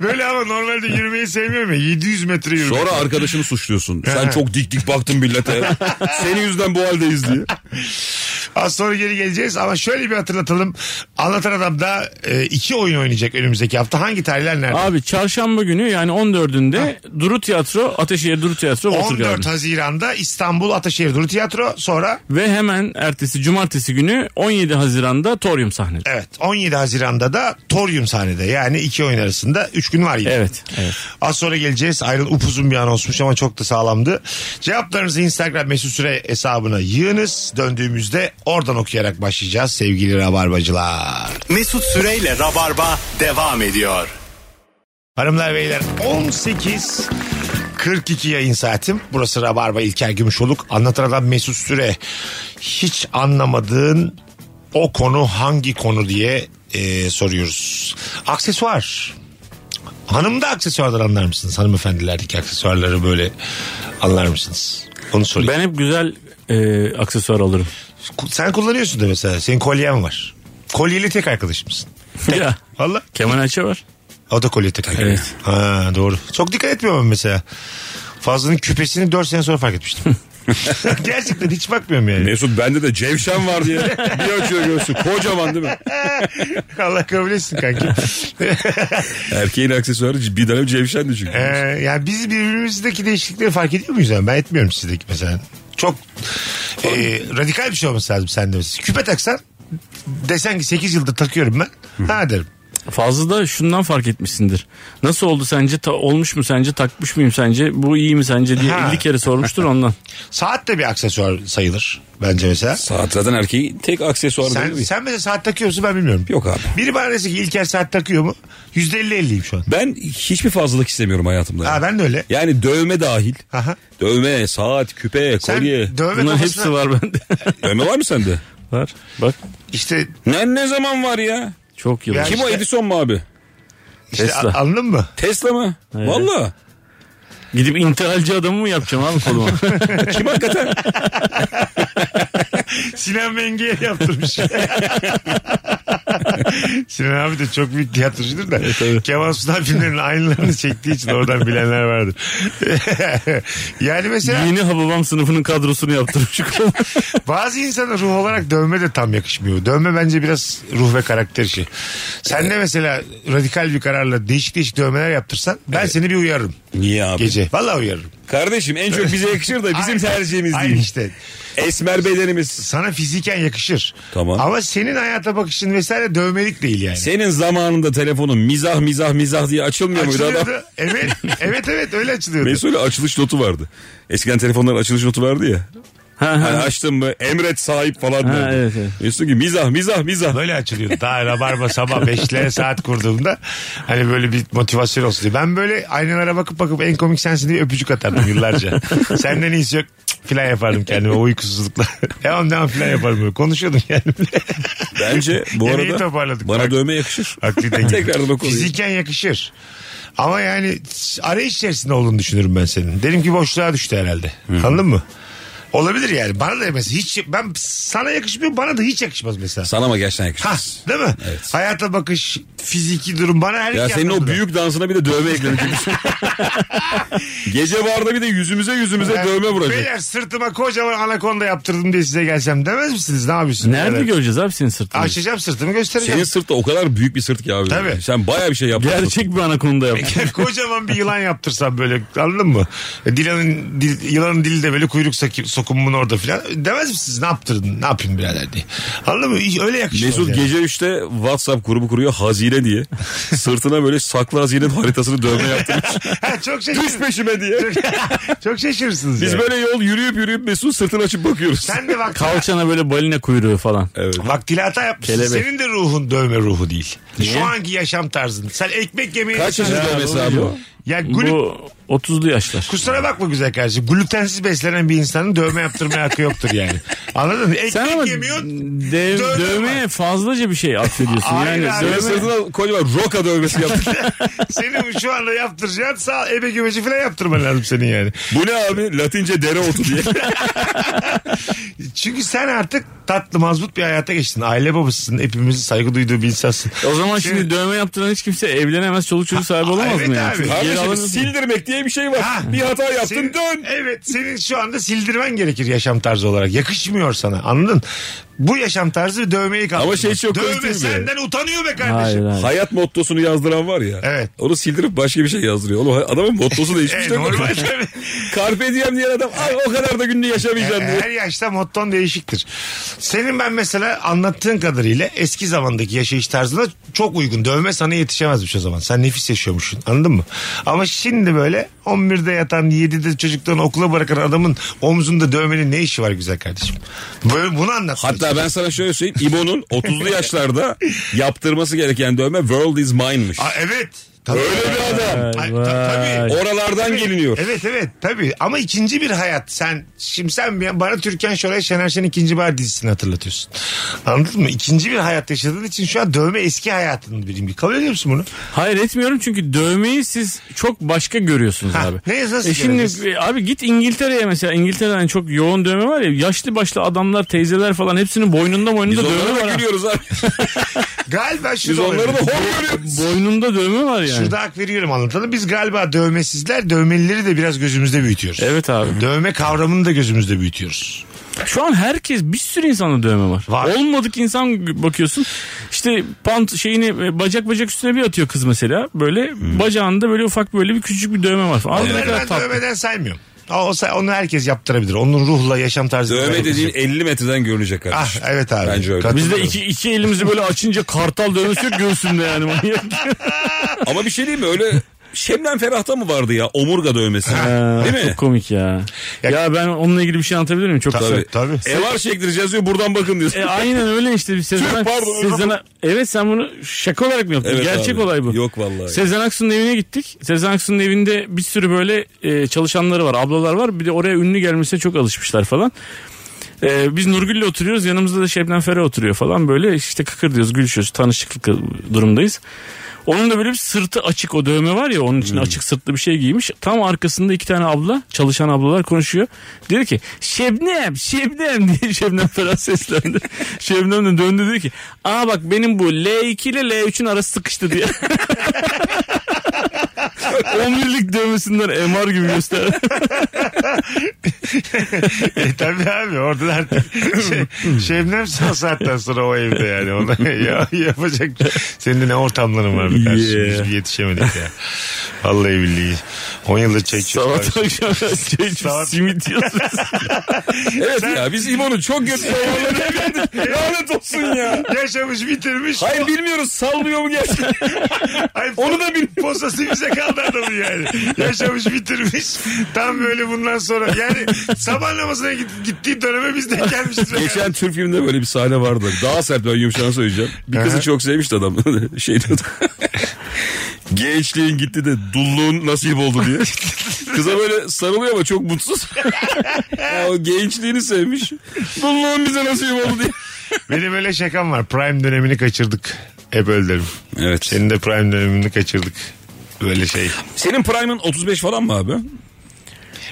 Böyle ama normalde yürümeyi sevmiyorum ya. 700 metre yürümek. Sonra arkadaşını suçluyorsun. Sen çok dik dik baktın millete. Senin yüzden bu haldeyiz diye. Az sonra geri geleceğiz ama şöyle bir hatırlatalım. Anlatan Adam da e, iki oyun oynayacak önümüzdeki hafta. Hangi tarihler nerede? Abi çarşamba günü yani 14'ünde Duru Tiyatro, Ateşehir Duru Tiyatro, 14 Watergarden. Haziran'da İstanbul Ataşehir Duru Tiyatro sonra Ve hemen ertesi cumartesi günü 17 Haziran'da Torium sahnede. evet 17 Haziran'da da Torium sahnede yani iki oyun arasında 3 gün var yine. Evet, evet. Az sonra geleceğiz. Ayrıl upuzun bir anonsmuş ama çok da sağlamdı. Cevaplarınızı Instagram mesut süre hesabına yığınız. Döndüğümüzde oradan okuyarak başlayacağız sevgili rabarbacılar. Mesut Süreyle Rabarba devam ediyor. Hanımlar beyler 18 42 yayın saatim. Burası Rabarba İlker Gümüşoluk. Anlatan adam Mesut Süre. Hiç anlamadığın o konu hangi konu diye e, soruyoruz. Aksesuar. Hanımda aksesuardan anlar mısınız? Hanımefendilerdeki aksesuarları böyle anlar mısınız? Onu sorayım. Ben hep güzel e, aksesuar alırım. Ku- Sen kullanıyorsun da mesela. Senin kolyen var. Kolyeli tek arkadaşımsın. ya. Valla. Kemal Ayça var. O da kolye takar. Evet. Ha, doğru. Çok dikkat etmiyorum ben mesela. Fazlının küpesini 4 sene sonra fark etmiştim. Gerçekten hiç bakmıyorum yani. Mesut bende de cevşen var diye bir açıyor göğsü. Kocaman değil mi? Allah kabul etsin kanki. Erkeğin aksesuarı bir dönem cevşendi çünkü. ee, yani biz birbirimizdeki değişiklikleri fark ediyor muyuz? Yani? Ben etmiyorum sizdeki mesela. Çok e, radikal bir şey olması lazım sende mesela. Küpe taksan desen ki 8 yıldır takıyorum ben. Ha derim. Fazla da şundan fark etmişsindir. Nasıl oldu sence? Ta- olmuş mu sence? Takmış mıyım sence? Bu iyi mi sence diye Ha. 50 kere sormuştur ondan. Saat de bir aksesuar sayılır bence mesela. Saat zaten erkeğin tek aksesuarı Sen, değil mi? sen mesela saat takıyor musun ben bilmiyorum. Yok abi. Biri bana dese ki İlker saat takıyor mu? %50-50'yim şu an. Ben hiçbir fazlalık istemiyorum hayatımda. Ha, yani. ben de öyle. Yani dövme dahil. Aha. Dövme, saat, küpe, Sen kolye. dövme Bunların kafasına- hepsi var bende. Dövme var mı sende? var. Bak İşte Ne, ne zaman var ya? çok yıl. Ya Kim işte- o Edison mu abi? İşte Tesla. a- anladın mı? Tesla mı? Valla. Gidip intihalci adamı mı yapacağım abi koluma? Kim hakikaten? Sinan Bengi'ye yaptırmış. Sinan abi de çok büyük tiyatrocudur da. Kemal Sunal filmlerinin aynılarını çektiği için oradan bilenler vardır. yani mesela Yeni Hababam sınıfının kadrosunu yaptırmış koluma. bazı insana ruh olarak dövme de tam yakışmıyor. Dövme bence biraz ruh ve karakter işi. Sen de mesela radikal bir kararla değişik değişik dövmeler yaptırsan ben seni bir uyarırım. Niye abi? Gece. Vallahi uyarırım. Kardeşim en çok bize yakışır da E, bizim Aynen. tercihimiz Aynen değil. işte. Esmer bedenimiz. Sana fiziken yakışır. Tamam. Ama senin hayata bakışın vesaire dövmelik değil yani. Senin zamanında telefonun mizah mizah mizah diye açılmıyor muydu adam? Açılıyordu. Evet, evet evet öyle açılıyordu. Mesul'e açılış notu vardı. Eskiden telefonların açılış notu vardı ya. Ha, Hani ha. açtım mı emret sahip falan Ha, derdi. evet, evet. Mesut ki mizah mizah mizah. Böyle açılıyordu. Daha rabarba sabah 5'lere saat kurduğumda hani böyle bir motivasyon olsun diye. Ben böyle aynalara bakıp bakıp en komik sensin diye öpücük atardım yıllarca. Senden iyisi yok cık filan yapardım kendime o uykusuzlukla. devam devam filan yapardım böyle. Konuşuyordum kendimle. Bence bu Yemeği arada toparladık. bana Bak. dövme yakışır. Akli denge. Tekrardan o konuyu. Fiziken yakışır. Ama yani arayış içerisinde olduğunu düşünürüm ben senin. Derim ki boşluğa düştü herhalde. Anladın mı? Olabilir yani. Bana da mesela hiç ben sana yakışmıyor bana da hiç yakışmaz mesela. Sana mı gerçekten Ha, yakışır? değil mi? Evet. Hayata bakış, fiziki durum bana her şey Ya iki senin o anlamda. büyük dansına bir de dövme eklenecek. Gece barda bir de yüzümüze yüzümüze Ben- dövme vuracak. Beyler sırtıma kocaman anakonda yaptırdım diye size gelsem demez misiniz? Ne yapıyorsunuz? Nerede Beyler? göreceğiz abi senin sırtını? Açacağım sırtımı Senin göstereceğim. sırt da o kadar büyük bir sırt ki abi. Tabii. Sen baya bir şey yaptın. Gerçek bir anakonda yap. kocaman bir yılan yaptırsam böyle anladın mı? E, Dilanın, dil, yılanın dili de böyle kuyruk soki- sokumun orada filan. Demez misiniz ne yaptırdın ne yapayım birader diye. Anladın mı? Hiç Öyle yakışmıyor. Mesut şey yani. gece 3'te WhatsApp grubu kuruyor hazine diye. Sırtına böyle saklı hazinenin haritasını dövme yaptırmış. Ha, çok Düş şaşırırsınız. peşime diye. çok şaşırırsınız. Biz yani. böyle yol yürüyüp yürüyüp Mesut sırtını açıp bakıyoruz. Sen de vakti, Kalçana böyle balina kuyruğu falan. E, Evet. vaktili hata yapmışsın. Kelebek. Senin de ruhun dövme ruhu değil. Şu anki yaşam tarzın. Sen ekmek yemeye... Kaç yaşında dövmesi abi bu? Ya glü- Bu 30'lu yaşlar. Kusura bakma güzel kardeşim. Glutensiz beslenen bir insanın dövme yaptırmaya hakkı yoktur yani. Anladın mı? Ekmek Sen ama yemiyorsun. dev- dövme dövmeye fazlaca bir şey affediyorsun. Hayır yani abi. Böyle dövme- sırtına kocaman roka dövmesi yaptık. Senin şu anda yaptıracağın sağ ebe gümeci falan yaptırman lazım senin yani. bu ne abi? Latince dereotu diye. Çünkü sen artık tatlı mazbut bir hayata geçtin. Aile babasısın. Hepimizin saygı duyduğu bir insansın. o zaman şimdi, Şimdi- dövme yaptıran hiç kimse evlenemez, çoluk çocuk sahibi olamaz evet mı yani? abi. Çünkü geri Kardeşim alamıyorsun. sildirmek diye bir şey var. Ha. Bir hata yaptın Senin- dön. Evet senin şu anda sildirmen gerekir yaşam tarzı olarak. Yakışmıyor sana anladın? Bu yaşam tarzı dövmeyi kaldırmaz. Ama şey çok komik Dövme değil mi? senden utanıyor be kardeşim. Hayır, hayır. Hayat mottosunu yazdıran var ya. Evet. Onu sildirip başka bir şey yazdırıyor. Oğlum adamın mottosu değişmiş E, değil mi? normal tabii. Carpe diem diyen adam ay o kadar da gününü yaşamayacaksın diyor. E, Her yaşta motton değişiktir. Senin ben mesela anlattığın kadarıyla eski zamandaki yaşayış tarzına çok uygun. Dövme sana yetişemezmiş o zaman. Sen nefis yaşıyormuşsun anladın mı? Ama şimdi böyle 11'de yatan 7'de çocuktan okula bırakan adamın omzunda dövmenin ne işi var güzel kardeşim? Böyle bunu anlat. Hatta ben sana şöyle söyleyeyim. İbo'nun 30'lu yaşlarda yaptırması gereken dövme World is Mine'mış. Aa, evet. Tabii. Öyle bir adam. Ay, ta- tabii. Oralardan geliniyor. Evet evet tabii ama ikinci bir hayat sen şimdi sen bir- bana Türkan Şoray Şener Şen'in ikinci bahar dizisini hatırlatıyorsun. Anladın mı? İkinci bir hayat yaşadığın için şu an dövme eski hayatının bir imgi. Kabul ediyor musun bunu? Hayır etmiyorum çünkü dövmeyi siz çok başka görüyorsunuz Ha, abi. neyse, nasıl E göreceğiz? şimdi e, abi git İngiltere'ye mesela İngiltere'de hani çok yoğun dövme var ya yaşlı başlı adamlar teyzeler falan hepsinin boynunda Biz boynunda dövme onlara var. da ha. gülüyoruz abi. Galiba şu Biz da onları da olabilir. hor görüyoruz. Boynunda dövme var yani. Şurada hak veriyorum anlatalım. Biz galiba dövmesizler dövmelileri de biraz gözümüzde büyütüyoruz. Evet abi. Dövme kavramını da gözümüzde büyütüyoruz. Şu an herkes bir sürü insanda dövme var. Var. Olmadık insan bakıyorsun. İşte pant şeyini e, bacak bacak üstüne bir atıyor kız mesela. Böyle bacağında böyle ufak böyle bir küçük bir dövme var. Abi ne Onları kadar ben tatlı. dövmeden saymıyorum. O, o- onu herkes yaptırabilir. Onun ruhla yaşam tarzı. Dövme dediğin 50 metreden görünecek Ah kardeşim. evet abi. Bence öyle. Kat- Biz de iki, iki elimizi böyle açınca kartal dövmesi yok göğsünde yani manyak. Ama bir şey diyeyim mi öyle Şemden Ferah'ta mı vardı ya omurga dövmesi? Değil mi? Çok komik ya. Ya- ya. ben onunla ilgili bir şey anlatabilir miyim? Çok kısa. Tabii. Tabii. E var çektireceğiz diyor buradan bakın diyorsun. E, aynen öyle işte bir Sezen Tüh, Ak- pardon, özür Sezen Ak- Evet sen bunu şaka olarak mı yaptın? Evet Gerçek abi. olay bu. Yok vallahi. Sezen Aksu'nun evine gittik. Sezen Aksu'nun evinde bir sürü böyle e, çalışanları var, ablalar var. Bir de oraya ünlü gelmesine çok alışmışlar falan. E, biz Nurgül'le oturuyoruz. Yanımızda da Şebnem Ferah oturuyor falan. Böyle işte kıkır diyoruz, gülüşüyoruz. Tanışıklık durumdayız. Onun da böyle bir sırtı açık o dövme var ya onun için açık sırtlı bir şey giymiş. Tam arkasında iki tane abla çalışan ablalar konuşuyor. Diyor ki Şebnem Şebnem diye Şebnem Ferah seslendi. Şebnem de döndü diyor ki aa bak benim bu L2 ile L3'ün arası sıkıştı diye. 11'lik dövmesinden MR gibi göster. E tabii abi orada artık şey, Şebnem sağ saatten sonra o evde yani. Ona ya, yapacak. Senin de ne ortamların var bir kardeşim. Biz Yeah. bir yetişemedik ya. Vallahi billahi. 10 yıldır çay içiyoruz. Sabah akşam çay içip Sabah- simit yiyorsun. şey, Evet ya biz İmo'nun çok kötü hayvanları evlendik. Lanet olsun ya. Yaşamış bitirmiş. Hayır bilmiyoruz sallıyor mu gerçekten? Ay, Onu da bil- Posası bize kaldı adamın yani. Yaşamış bitirmiş. Tam böyle bundan sonra. Yani sabah namazına git- gittiği döneme biz de gelmişiz. Geçen Türk filminde böyle bir sahne vardı. Daha sert ben yumuşağını söyleyeceğim. Bir Aha. kızı çok sevmişti adam. şey diyordu. Gençliğin gitti de dulluğun nasip oldu diye. Kıza böyle sarılıyor ama çok mutsuz. Ya o gençliğini sevmiş. Dulluğun bize nasip oldu diye. Benim öyle şakam var. Prime dönemini kaçırdık. Hep öyle derim. Evet. Senin de prime dönemini kaçırdık. Böyle şey. Senin prime'ın 35 falan mı abi?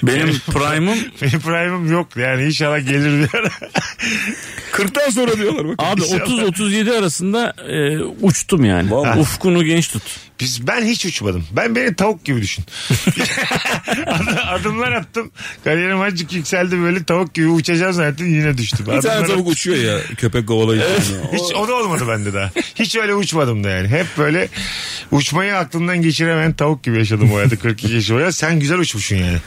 Benim prime'ım Benim prime'ım yok yani inşallah gelir bir ara. 40'tan sonra diyorlar bak. Abi İnşallah. 30-37 arasında e, uçtum yani. Vallahi. Ufkunu genç tut. Biz, ben hiç uçmadım. Ben beni tavuk gibi düşün. Ad- Adımlar attım. Kariyerim azıcık yükseldi böyle tavuk gibi uçacağım zaten yine düştüm. Bir tane Adımlar tavuk uçuyor ya köpek kovalayıcı. Hiç o da olmadı bende daha. Hiç öyle uçmadım da yani. Hep böyle uçmayı aklımdan geçiremeyen tavuk gibi yaşadım o hayatı 42 yaş boyunca. Sen güzel uçmuşsun yani.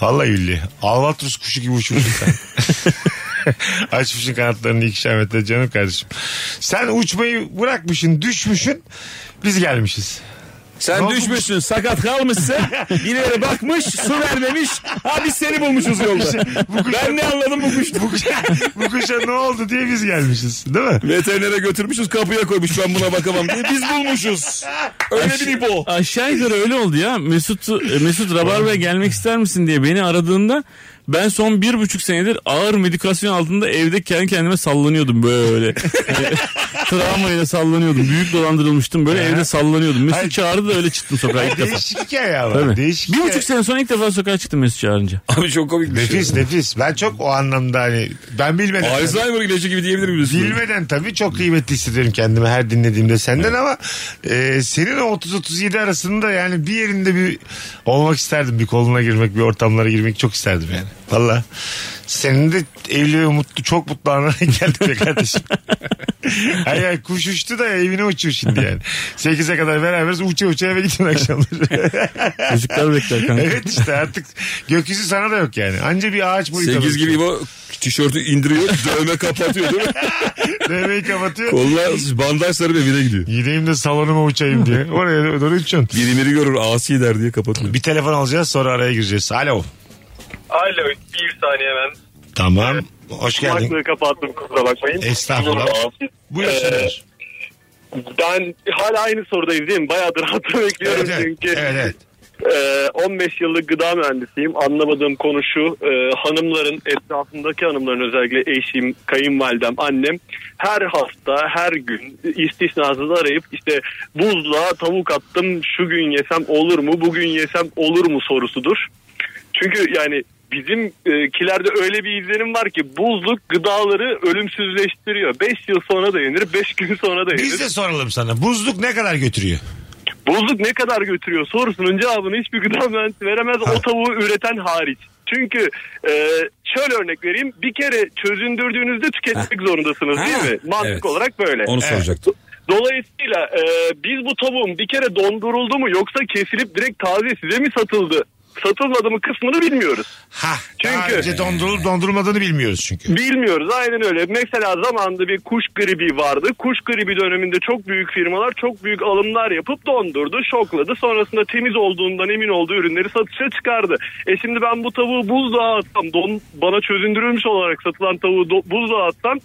Vallahi billahi. Albatros kuşu gibi uçmuşsun sen. Açmışsın kanatlarını ikişer metre canım kardeşim. Sen uçmayı bırakmışsın, düşmüşsün. Biz gelmişiz. Ne Sen oldu? düşmüşsün sakat kalmışsın. Birileri bakmış su vermemiş. Ha biz seni bulmuşuz yolda. Bu kuşa, Ben ne anladım bu kuştan? bu, kuşa, bu kuşa ne oldu diye biz gelmişiz. Değil mi? Veterinere götürmüşüz kapıya koymuş ben buna bakamam diye. Biz bulmuşuz. Öyle bir ipo. Aşağı yukarı öyle oldu ya. Mesut e, Mesut Rabarba'ya gelmek ister misin diye beni aradığında ben son bir buçuk senedir ağır medikasyon altında evde kendi kendime sallanıyordum böyle. E, Travmayla sallanıyordum. Büyük dolandırılmıştım. Böyle evde sallanıyordum. Mesut Hayır. çağırdı da öyle çıktım sokağa ilk defa. Değişik hikaye ama. Tabii. Değişik Bir hikaye. buçuk sene sonra ilk defa sokağa çıktım Mesut çağırınca. Abi çok komik bir şey. Nefis nefis. Ben çok o anlamda hani ben bilmeden. Alzheimer ilacı gibi diyebilir miyiz? Bilmeden tabii çok kıymetli hissediyorum kendimi her dinlediğimde senden ama e, senin o 30-37 arasında yani bir yerinde bir olmak isterdim. Bir koluna girmek, bir ortamlara girmek çok isterdim yani. Valla. Senin de evli ve mutlu, çok mutlu anlara geldik be kardeşim. hayır hayır kuş uçtu da evine uçuyor şimdi yani. 8'e kadar beraberiz uça uça eve gidin akşamları. Çocuklar bekler kanka. evet işte artık gökyüzü sana da yok yani. Anca bir şey. ağaç boyu 8 kalır. gibi bu tişörtü indiriyor dövme kapatıyor değil mi? Devreyi kapatıyor. Koluna bandaj sarıp evine gidiyor. Gideyim de salonuma uçayım diye. Oraya doğru uçuyorsun. Biri biri görür asi der diye kapatıyor. Bir telefon alacağız sonra araya gireceğiz. Alo. Alo bir saniye ben Tamam. Hoş geldin. kulaklığı kapattım kusura bakmayın. Estağfurullah. Ee, Buyursunlar. Ben hala aynı sorudayız değil mi? Bayağıdır hatta bekliyorum Evet, evet. çünkü. Evet, evet. Ee, 15 yıllık gıda mühendisiyim. Anlamadığım konu şu. e, hanımların, etrafımdaki hanımların özellikle eşim, kayınvalidem, annem her hafta, her gün istisnasız arayıp işte buzluğa tavuk attım şu gün yesem olur mu, bugün yesem olur mu sorusudur. Çünkü yani bizimkilerde öyle bir izlenim var ki buzluk gıdaları ölümsüzleştiriyor. 5 yıl sonra da yenir, 5 gün sonra da yenir. Biz de soralım sana. Buzluk ne kadar götürüyor? Bozuk ne kadar götürüyor sorusunun cevabını hiçbir gıda mühendisi veremez o tavuğu üreten hariç. Çünkü e, şöyle örnek vereyim bir kere çözündürdüğünüzde tüketmek zorundasınız Ha. değil mi? Mantık Evet. olarak böyle. Onu Evet. soracaktım. Dolayısıyla e, biz bu tavuğun bir kere donduruldu mu yoksa kesilip direkt taze size mi satıldı? Satılmadı mı kısmını bilmiyoruz. Ha, daha Çünkü- önce dondurulup dondurulmadığını bilmiyoruz çünkü. Bilmiyoruz aynen öyle. Mesela zamanında bir kuş gribi vardı. Kuş gribi döneminde çok büyük firmalar çok büyük alımlar yapıp dondurdu, şokladı. Sonrasında temiz olduğundan emin olduğu ürünleri satışa çıkardı. E şimdi ben bu tavuğu buzluğa atsam, don, bana çözündürülmüş olarak satılan tavuğu do- buzluğa atsam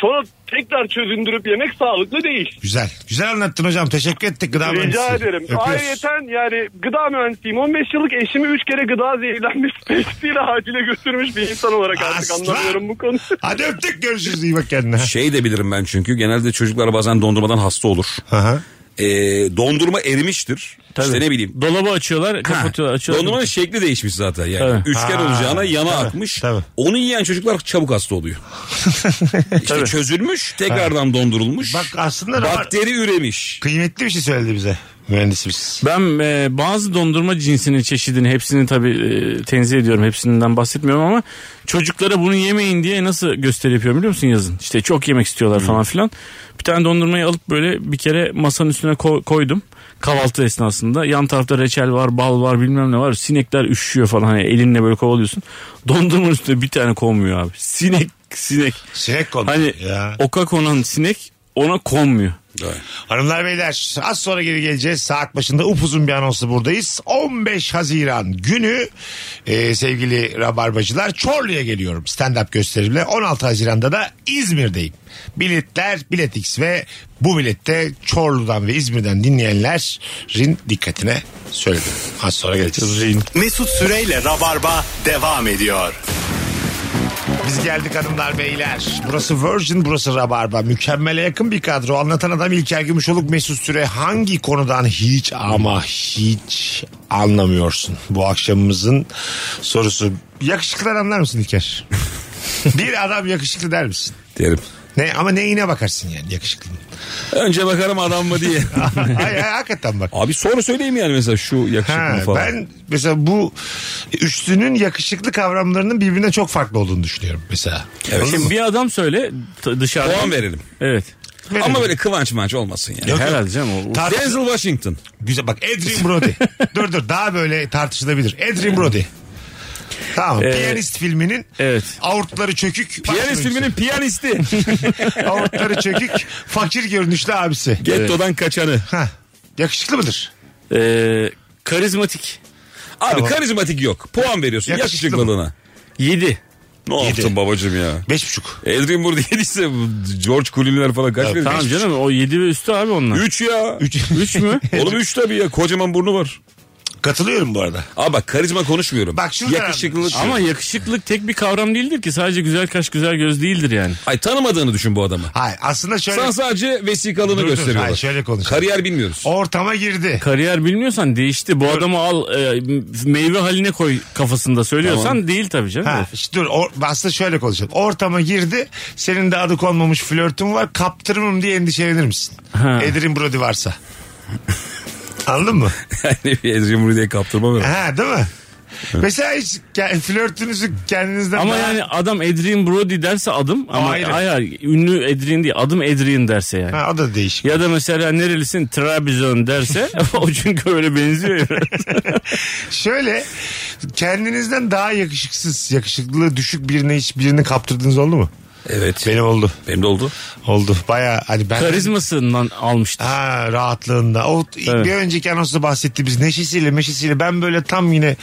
sonra tekrar çözündürüp yemek sağlıklı değil. Güzel. Güzel anlattın hocam. Teşekkür ettik. Gıda Rica mühendisi. ederim. Öpüyoruz. Ayrıyeten yani gıda mühendisiyim. 15 yıllık eşimi 3 kere gıda zehirlenmesi testiyle acile götürmüş bir insan olarak artık Aslan. anlamıyorum bu konuyu. Hadi öptük görüşürüz. İyi bak kendine. Şey de bilirim ben çünkü genelde çocuklar bazen dondurmadan hasta olur. Aha. e, dondurma erimiştir. İşte ne bileyim. Dolabı açıyorlar, Ha, kapatıyorlar, açıyorlar. Dondurmanın şekli değişmiş zaten yani. Tabii. Üçgen Ha, olacağına yana tabii, akmış. tabii. Onu yiyen çocuklar çabuk hasta oluyor. işte çözülmüş, tekrardan dondurulmuş. Bak aslında da var. bakteri üremiş. kıymetli bir şey söyledi bize mühendisimiz. Ben e, bazı dondurma cinsinin çeşidini hepsini tabii e, tenzih ediyorum. Hepsinden bahsetmiyorum ama çocuklara bunu yemeyin diye nasıl gösteri yapıyorum biliyor musun yazın? İşte çok yemek istiyorlar falan filan. Bir tane dondurmayı alıp böyle bir kere masanın üstüne ko- koydum. Kahvaltı esnasında yan tarafta reçel var, bal var, bilmem ne var. Sinekler üşüyor falan. Hani elinle böyle kovalıyorsun. Dondurmanın üstüne bir tane konmuyor abi. Sinek, sinek. Sinek konu. Hani ya. oka konan sinek ona konmuyor. Hanımlar beyler az sonra geri geleceğiz. Saat başında upuzun bir anonsla buradayız. 15 Haziran günü e, sevgili Rabarbacılar Çorlu'ya geliyorum stand-up gösterimle. 16 Haziran'da da İzmir'deyim. Biletler Biletix ve bu bilette Çorlu'dan ve İzmir'den dinleyenlerin dikkatine söyledim. Az sonra geleceğiz. Mesut Süreyle Rabarba devam ediyor. Biz geldik hanımlar beyler. Burası Virgin, burası Rabarba. Mükemmele yakın bir kadro. Anlatan adam İlker Gümüşoluk Mesut Süre. Hangi konudan hiç ama hiç anlamıyorsun? Bu akşamımızın sorusu. Yakışıklılar anlar mısın İlker? bir adam yakışıklı der misin? Derim. Ne, ama neyine bakarsın yani yakışıklı. Önce bakarım adam mı diye. Ah. Ay, ay, hakikaten bak. Abi sonra söyleyeyim yani mesela şu yakışık Ha, mı falan. ben mesela bu üçlünün yakışıklı kavramlarının birbirine çok farklı olduğunu düşünüyorum mesela. Evet. Şimdi bir adam söyle t- dışarıda. Puan verelim. Evet. Ama böyle kıvanç manç olmasın yani. Yok, yok. Herhalde canım. O, Tar- Denzel Washington. Güzel bak Adrian Brody. dur dur daha böyle tartışılabilir. Adrian Brody. Tamam. Ee, Piyanist filminin evet. avurtları çökük. e, Piyanist başrolcüsü. filminin piyanisti. avurtları çökük fakir görünüşlü abisi. Getto'dan kaçanı. Hah. Yakışıklı mıdır? Ee, karizmatik. Abi Tamam. karizmatik yok. Puan veriyorsun Yakışıklı yakışıklılığına. 7. Ne yaptın babacım ya? Beş buçuk. Edrin burada yediyse bu George Clooney'ler falan kaç verir? Tamam Üç. canım o 7 ve üstü abi onlar. Üç ya. Üç. Üç mü? Oğlum üç tabii ya. Kocaman burnu var. Katılıyorum bu arada. Abi bak karizma konuşmuyorum. Bak şuradan- Yakışıklılık. Ama yakışıklık tek bir kavram değildir ki. Sadece güzel kaş güzel göz değildir yani. Ay tanımadığını düşün bu adamı. Hayır aslında şöyle. Sana sadece vesikalını Dur, dur. gösteriyorlar. Hayır, şöyle konuşalım. Kariyer bilmiyoruz. Ortama girdi. Kariyer bilmiyorsan değişti. Bu adamı al e, meyve haline koy kafasında söylüyorsan değil tabii canım. Ha, işte dur or- aslında şöyle konuşalım. Ortama girdi. Senin de adı konmamış flörtün var. Kaptırırım diye endişelenir misin? Ha. Adrian Brody varsa. Anladın mı? yani bir Edrin Murray'e kaptırma ben. Ha değil mi? Mesela hiç ke- flörtünüzü kendinizden Ama daha- yani adam Adrian Brody derse adım ama Hayır. hayır. hayır ünlü Adrian değil adım Adrian derse yani. ha, o da değişik. Ya da mesela nerelisin Trabzon derse o çünkü öyle benziyor. ya. Şöyle kendinizden daha yakışıksız, yakışıklılığı düşük birine hiç birini kaptırdınız oldu mu? Evet. Benim oldu. Benim de oldu. Oldu. Baya hani ben Karizmasından almıştı. Ha rahatlığında. O bir önceki anonsda bahsettiğimiz neşesiyle meşesiyle ben böyle tam yine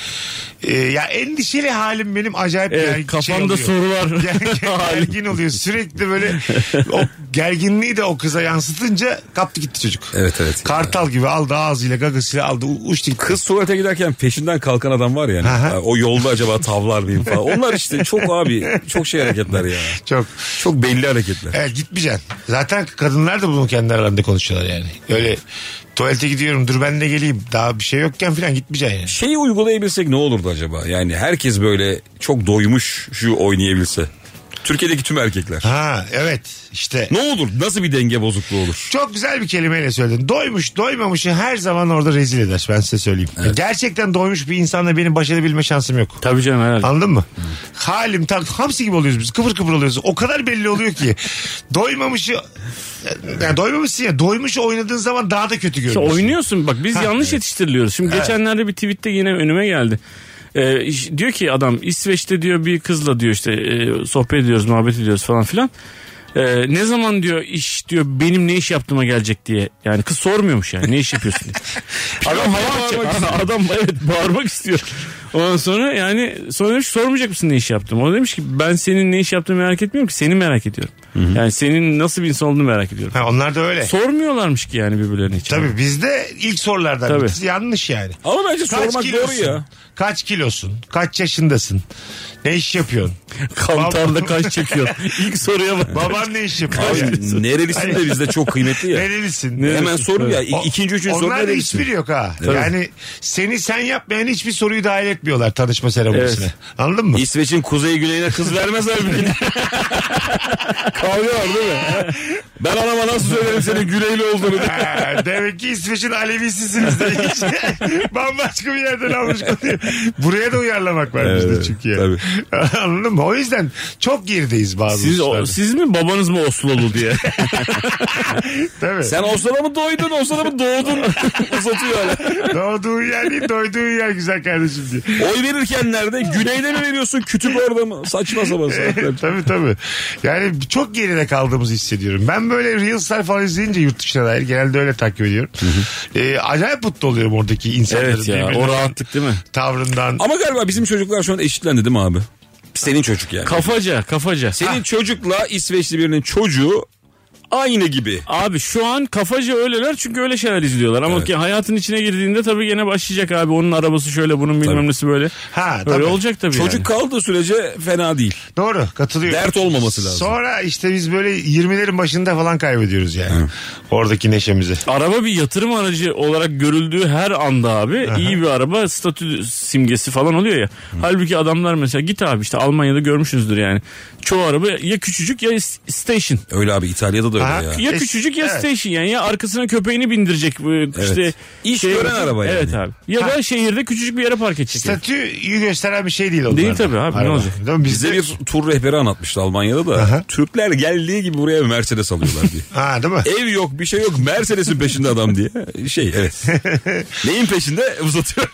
e, ya endişeli halim benim acayip Evet, ger- şey kafamda oluyor. sorular. Ger- ger- gergin oluyor. Sürekli böyle o gerginliği de o kıza yansıtınca kaptı gitti çocuk. Evet, evet. Kartal gibi aldı ağzıyla gagasıyla aldı u- uçtu gitti. Kız tuvalete giderken peşinden kalkan adam var yani. Aha. O yolda acaba tavlar mıyım falan. Onlar işte çok abi çok şey hareketler ya. Çok. Çok belli hareketler. Evet gitmeyeceksin. Zaten kadınlar da bunu kendi aralarında konuşuyorlar yani. Öyle tuvalete gidiyorum dur ben de geleyim. Daha bir şey yokken falan gitmeyeceksin yani. Şeyi uygulayabilsek ne olurdu acaba? Yani herkes böyle çok doymuş şu oynayabilse. Türkiye'deki tüm erkekler. Ha evet işte. Ne olur? Nasıl bir denge bozukluğu olur? Çok güzel bir kelimeyle söyledin. Doymuş doymamışı her zaman orada rezil eder. Ben size söyleyeyim. Gerçekten doymuş bir insanla benim baş edebilme şansım yok. Tabii canım herhalde. Anladın mı? Halim tam hamsi gibi oluyoruz biz. Kıpır kıpır oluyoruz. O kadar belli oluyor ki. doymamışı yani doymamışsın ya. Doymuş oynadığın zaman daha da kötü İşte görünüyorsun. oynuyorsun bak biz yanlış yetiştiriliyoruz. Şimdi geçenlerde bir tweette yine önüme geldi. Ee, iş- diyor ki adam İsveç'te diyor bir kızla diyor işte e, sohbet ediyoruz muhabbet ediyoruz falan filan. Ee, ne zaman diyor iş diyor benim ne iş yaptığıma gelecek diye. Yani kız sormuyormuş yani ne iş yapıyorsun diye. adam hava atacak. Adam evet bağırmak istiyor. Ondan sonra yani sonra demiş sormayacak mısın ne iş yaptım? O demiş ki ben senin ne iş yaptığını merak etmiyorum ki seni merak ediyorum. Yani senin nasıl bir insan olduğunu merak ediyorum. Ha, onlar da öyle. Sormuyorlarmış ki yani birbirlerine hiç. Tabii bizde ilk sorulardan Tabii. birisi yanlış yani. Ama bence Kaç sormak doğru kilosun? ya. Kaç kilosun? Kaç yaşındasın? Ne iş yapıyorsun? Kantarda kaç çekiyor. İlk soruya bak. Baban ne iş yapıyor? Abi, Yani? nerelisin de bizde çok kıymetli ya. Nerelisin? Hemen sorun ya. İ- O- İkinci, üçüncü soru Onlar da nerelisin? hiçbiri yok ha. Yani seni sen yapmayan hiçbir soruyu dahil etmiyorlar tanışma seremonisine. Evet. Anladın mı? İsveç'in kuzey güneyine kız vermez abi. Kavga var değil mi? Ben anama nasıl söylerim senin güneyli olduğunu. Ha, Demek ki İsveç'in Alevisisiniz de hiç. Bambaşka bir yerden almış konuyu. Buraya da uyarlamak var bizde Evet, çünkü. yani. Anladın mı? O yüzden çok gerideyiz bazı Siz, o- hususlarda. siz mi babanız mı Oslolu diye. Tabii. Sen Oslo'da mı doydun, Oslo'da mı doğdun? Uzatıyor hala. Doğduğun yer değil, doyduğun yer güzel kardeşim diye. Oy verirken nerede? Güneyde mi veriyorsun, kütüp orada mı? Saçma sapan saatler. tabii tabii. Yani çok geride kaldığımızı hissediyorum. Ben böyle Reels'ler falan izleyince yurt dışına dair genelde öyle takip ediyorum. Ee, acayip mutlu oluyorum oradaki insanların evet ya birbirinin o rahatlık değil mi? tavrından. Ama galiba bizim çocuklar şu an eşitlendi değil mi abi? Senin çocuk yani. Kafaca kafaca. Senin çocukla İsveçli birinin çocuğu aynı gibi. Abi şu an kafaca öyleler çünkü öyle şeyler izliyorlar. Ama Evet. ki hayatın içine girdiğinde tabii gene başlayacak abi. Onun arabası şöyle bunun bilmem Tabii. nesi böyle. Ha, öyle tabii. olacak tabii Çocuk yani. kaldığı sürece fena değil. Doğru katılıyorum. Dert olmaması lazım. Sonra işte biz böyle 20'lerin başında falan kaybediyoruz yani. Oradaki neşemizi. Araba bir yatırım aracı olarak görüldüğü her anda abi iyi bir araba statü simgesi falan oluyor ya. Halbuki adamlar mesela git abi işte Almanya'da görmüşsünüzdür yani. Çoğu araba ya küçücük ya s- station. Öyle abi İtalya'da da öyle Aha. ya. Ya Es- küçücük ya evet. station yani ya arkasına köpeğini bindirecek bu işte. şey İş gören araba yani. Evet abi. Ya da şehirde küçücük bir yere park edecek. Statüyü gösteren bir şey değil onlar. tabii abi, ne olacak? Bize Bizde bir tur rehberi anlatmıştı Almanya'da da. Türkler geldiği gibi buraya Mercedes alıyorlar diye. Ha değil mi? Ev yok bir şey yok Mercedes'in peşinde adam diye. Şey evet. Neyin peşinde uzatıyor.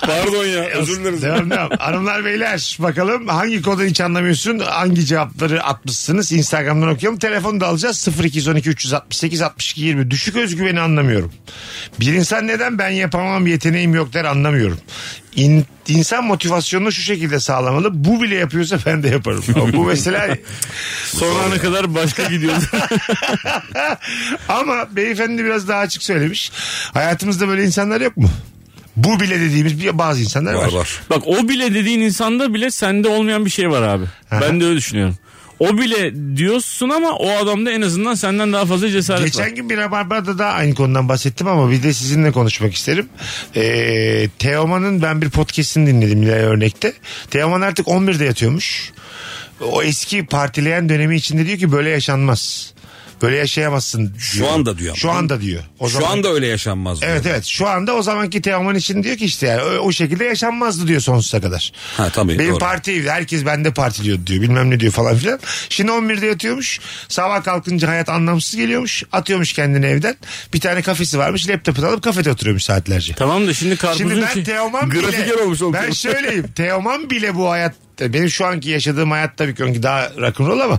Pardon ya özür dileriz. Devam devam. Hanımlar beyler bakalım hangi kodu hiç anlamıyorsun? Hangi cevapları atmışsınız? Instagram'dan okuyorum. Telefonu da alacağız. 0212 368 62 20. Düşük özgüveni anlamıyorum. Bir insan neden ben yapamam yeteneğim yok der anlamıyorum. İn, insan motivasyonunu şu şekilde sağlamalı. Bu bile yapıyorsa ben de yaparım. Ama bu mesela Son ana kadar başka gidiyordu. ama beyefendi biraz daha açık söylemiş. Hayatımızda böyle insanlar yok mu? Bu bile dediğimiz bir- bazı insanlar var. Var var. Bak o bile dediğin insanda bile sende olmayan bir şey var abi. Ben de öyle düşünüyorum. O bile diyorsun ama o adamda en azından senden daha fazla cesaret var. Geçen gün bir Rabarba'da da aynı konudan bahsettim ama bir de sizinle konuşmak isterim. Ee, Teoman'ın ben bir podcast'ini dinledim Nilay Örnek'te. Teoman artık 11'de yatıyormuş. O eski partileyen dönemi içinde diyor ki böyle yaşanmaz. Böyle yaşayamazsın. diyor. anda diyor ama. Şu anda diyor. O Şu anda öyle yaşanmaz. bu. Evet evet şu anda o zamanki Teoman için diyor ki işte yani o, o şekilde yaşanmazdı diyor sonsuza kadar. Ha, tabii, Benim doğru. parti herkes bende partiliyordu diyor bilmem ne diyor falan filan. Şimdi 11'de yatıyormuş sabah kalkınca hayat anlamsız geliyormuş atıyormuş kendini evden. Bir tane kafesi varmış laptopunu alıp kafede oturuyormuş saatlerce. Tamam da şimdi karpuzun şey- Şimdi ben ki- Teoman grafiker bile, olmuş oldum. ben şöyleyim Teoman bile bu hayat benim şu anki yaşadığım hayat tabii ki onunki daha rock'n'roll ama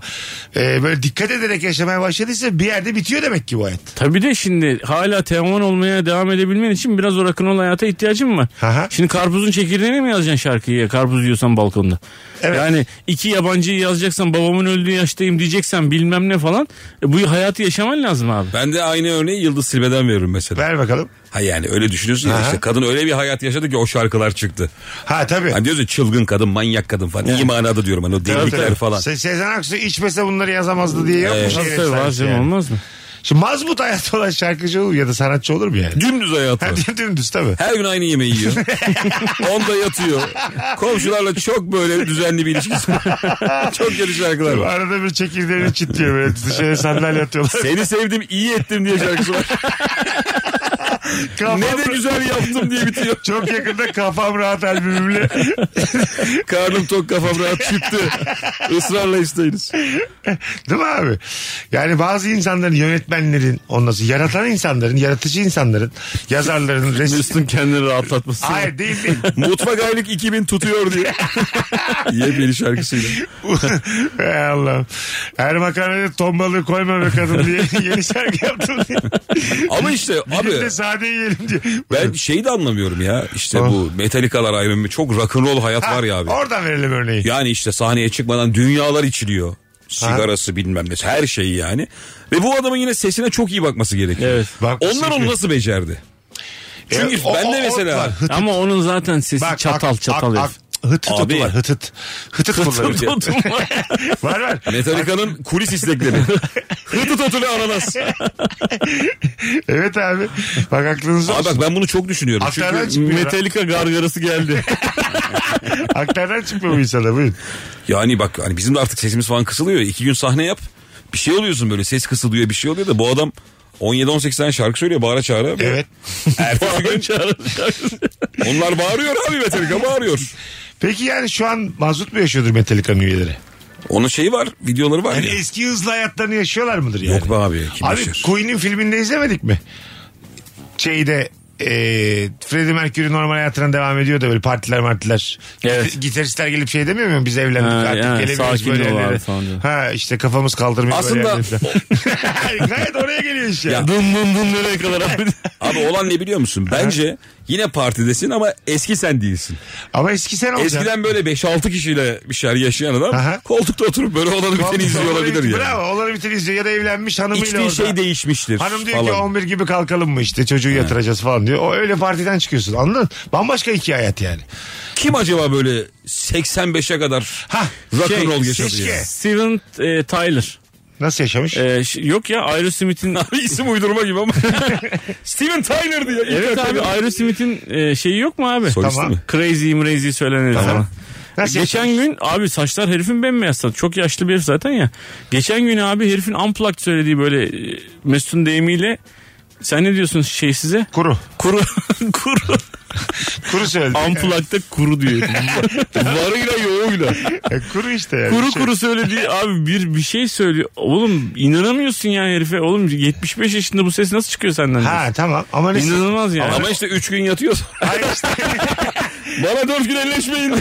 e, böyle dikkat ederek yaşamaya başladıysa bir yerde bitiyor demek ki bu hayat. Tabii de şimdi hala Teoman olmaya devam edebilmen için biraz o rock'n'roll hayata ihtiyacın var. Aha. Şimdi karpuzun çekirdeğine mi yazacaksın şarkıyı ya karpuz yiyorsan balkonda? Evet. Yani iki yabancıyı yazacaksan babamın öldüğü yaştayım diyeceksen bilmem ne falan. E, bu hayatı yaşaman lazım abi. Ben de aynı örneği Yıldız Silbe'den veririm mesela. Ver bakalım. Ha yani öyle düşünüyorsun ya Aha. işte kadın öyle bir hayat yaşadı ki o şarkılar çıktı. Ha tabii. Hani diyorsun çılgın kadın, manyak kadın falan. İyi manada diyorum hani o Tabii, delilikler tabii. falan. Se Sezen Aksu içmese bunları yazamazdı diye yok mu Evet. şey Tabii tabii, var efsanesi canım, yani? olmaz mı? Şimdi mazmut hayatı olan şarkıcı olur ya da sanatçı olur mu yani? Dümdüz hayatı. var. Hadi dümdüz tabii. Her gün aynı yemeği yiyor. Onda yatıyor. Komşularla çok böyle düzenli bir ilişkisi var. çok kötü şarkılar var. Arada bir çekirdeğini çitliyor böyle dışarı sandalye atıyorlar. Seni sevdim iyi ettim diye şarkısı var. Kafam- ne de güzel yaptım diye bitiyor. Çok yakında kafam rahat albümümle. Karnım tok kafam rahat çıktı. Israrla isteyiniz. Değil mi abi? Yani bazı insanların yönetmenlerin ondan yaratan insanların, yaratıcı insanların, yazarların, resim... Mesut'un kendini rahatlatması. Hayır değil değil. Mutfak aylık 2000 tutuyor diye. Yepyeni şarkısıyla. Ey Allah'ım. Her makarnaya ton balığı koyma be kadın diye yeni şarkı yaptım diye. Ama işte Bir de abi sade de yiyelim diye. Ben şeyi de anlamıyorum ya. İşte bu Metallica'lar Iron Man çok rock'n'roll hayat var ya abi. Oradan verelim örneği. Yani işte sahneye çıkmadan dünyalar içiliyor. Sigarası bilmem ne her şeyi yani. Ve bu adamın yine sesine çok iyi bakması gerekiyor. Evet. Bakması Onlar onu gerekiyor. nasıl becerdi? Çünkü E, o- ben de o- mesela- ot var, hıt- Ama onun zaten sesi bak, çatal ak- çatal. ak- herif. ak- Hıtıt otu Abi. var hıtıt. Hıtıt kullanıyor. var var. Metallica'nın kulis istekleri. Hıtı totulu ananas. Evet abi. Bak aklınızda Abi olsun. bak ben bunu çok düşünüyorum. Aktardan Çünkü çıkmıyor. Metallica gargarası geldi. Aktardan çıkmıyor bu insana buyurun. yani bak hani bizim de artık sesimiz falan kısılıyor. ya. İki gün sahne yap. Bir şey oluyorsun böyle ses kısılıyor bir şey oluyor da bu adam 17-18 tane şarkı söylüyor bağıra çağıra. Evet. Ertesi gün onlar bağırıyor abi Metallica bağırıyor. Peki yani şu an mazut mu yaşıyordur Metallica'nın üyeleri? Onun şeyi var videoları var Hani ya. eski hızlı hayatlarını yaşıyorlar mıdır yani? Yok be abi, kim abi yaşar? Queen'in filminde izlemedik mi? Şeyde e, Freddie Mercury normal hayatına devam ediyor da böyle partiler martiler. Evet. Git- Gitaristler gelip şey demiyor mu? Biz evlendik Ha, artık yani gelemiyoruz sakin böyle ol abi yerlere. falan diyor. Ha işte kafamız kaldırmıyor böyle Aslında- yerlere. Gayet oraya geliyor iş ya. Ya- Dın dın dın nereye kadar abi? Abi olan ne biliyor musun? Bence yine partidesin ama eski sen değilsin. Ama eski sen olacaksın. Eskiden böyle 5-6 kişiyle bir şeyler yaşayan adam Aha. koltukta oturup böyle olanı biteni izliyor olabilir yani. Bravo olanı biteni izliyor ya da evlenmiş hanımıyla İçtiği orada. şey değişmiştir Hanım diyor ki falan. 11 gibi kalkalım mı işte çocuğu yatıracağız falan diyor. O öyle partiden çıkıyorsun anladın? Bambaşka iki hayat yani. Kim acaba böyle 85'e kadar Hah, rock'n'roll şey, yaşadı şişke. ya? Steven e, Tyler. Nasıl yaşamış? E, ş- yok ya Aerosmith'in... Abi isim uydurma gibi ama. Steven Tyler diyor. evet abi Aerosmith'in e, şeyi yok mu abi? Solisti Tamam. mi? Crazy mrazy söylenir Tamam. falan. Şey, Nasıl Geçen yaşamış? gün abi saçlar herifin bembeyaz saç. Çok yaşlı bir herif zaten ya. Geçen gün abi herifin unplugged söylediği böyle e, Mesut'un deyimiyle sen ne diyorsun şey size? Kuru. Kuru. kuru. Kuru söyledi. Unplugged'da kuru diyor. Varıyla yoğuyla. E, kuru işte yani. Kuru Şey- kuru söylediği abi bir bir şey söylüyor. Oğlum inanamıyorsun ya herife. Oğlum 75 yaşında bu ses nasıl çıkıyor senden? Ha tamam ama ne? diyorsun. İnanılmaz yani. Ama işte 3 gün yatıyor. Hayır işte. bana 4 gün elleşmeyin.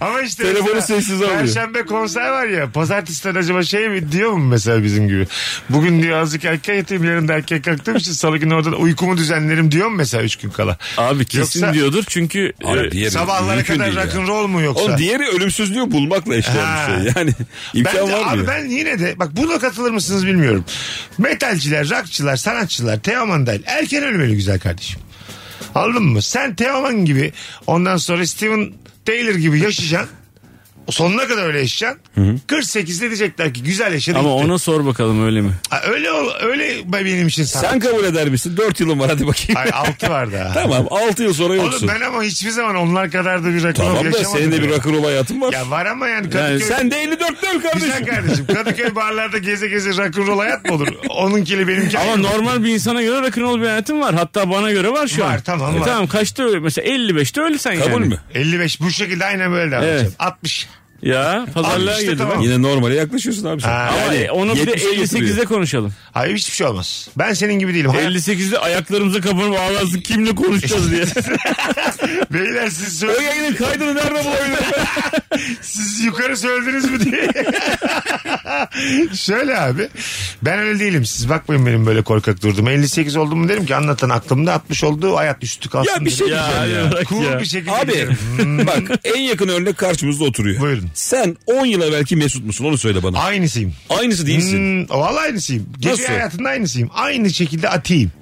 ama işte. Telefonu mesela sessiz alıyor. Perşembe konser var ya. Pazartesiden acaba şey mi diyor mu mesela bizim gibi? Bugün diyor azıcık erken yatayım yarın da erken kalktığım için salı günü orada da uykumu düzenlerim diyor mu mesela 3 gün kala? abi kesin Yoksa- diyordur çünkü e, Abi diğeri Sabahlara mümkün kadar değil ya. rock'n'roll mu yoksa? Oğlum diğeri ölümsüzlüğü bulmakla Ha. eşdeğer bir şey. Yani imkan Bence- var mı? Abi ben yine de bak buna katılır mısınız bilmiyorum. Metalciler, rockçılar, sanatçılar, Teoman dahil erken ölmeli güzel kardeşim. Anladın mı? Sen Teoman gibi ondan sonra Steven Taylor gibi yaşayacaksın. Sonuna kadar öyle yaşayacaksın. 48'de diyecekler ki güzel yaşadı ama gitti. ona sor bakalım öyle mi? Ha, Öyle ol- öyle benim için sanat. Sen kabul eder misin? 4 yılın var hadi bakayım. Ay 6 var daha. Tamam 6 yıl sonra Oğlum yoksun. ben ama hiçbir zaman onlar kadar da bir rakam Tamam da yaşamadım. senin de bir ya. rock'n'roll hayatın var. Ya var ama yani Kadıköy... yani sen de 54'te öl Güzel kardeşim. kardeşim. Kadıköy barlarda geze geze rock'n'roll hayat mı olur? Onunkili benimki. Ama ayrı. normal bir insana göre rock'n'roll bir hayatım var. Hatta bana göre var şu Var, an. E, tamam, var. Tamam kaçta öyle? Mesela 55'te öyle sen yani. Kabul mü? 55 bu şekilde aynen böyle devam Evet. edeceğim. 60. Ya Abi pazarlığa işte girdi tamam. bak. Yine normale yaklaşıyorsun abi sen. Ha. Ama e, Yani onu bir de 70'e götürüyor. 58'de konuşalım. Hayır hiçbir şey olmaz. Ben senin gibi değilim. Hayat- 58'de ayaklarımızı kapanıp ağlarsak kimle konuşacağız diye. Beyler siz, o sö- yayının kaydını nerede bulabilirim? siz yukarı söylediniz mi diye. Şöyle abi. Ben öyle değilim. Siz bakmayın benim böyle korkak durduğuma. 58 oldum mu derim ki anlatan aklımda 60 oldu. Hayat üstü kalsın. Ya bir şey derim. diyeceğim ya. bırak Cool ya. bir şey. şekilde. Abi giderim. bak en yakın örnek karşımızda oturuyor. Hmm. Buyurun. Sen 10 yıl evvelki Mesut musun onu söyle bana. Aynısıyım. Aynısı değilsin. Hmm, vallahi aynısıyım. Gece Nasıl? hayatında aynısıyım. Aynı şekilde atayım.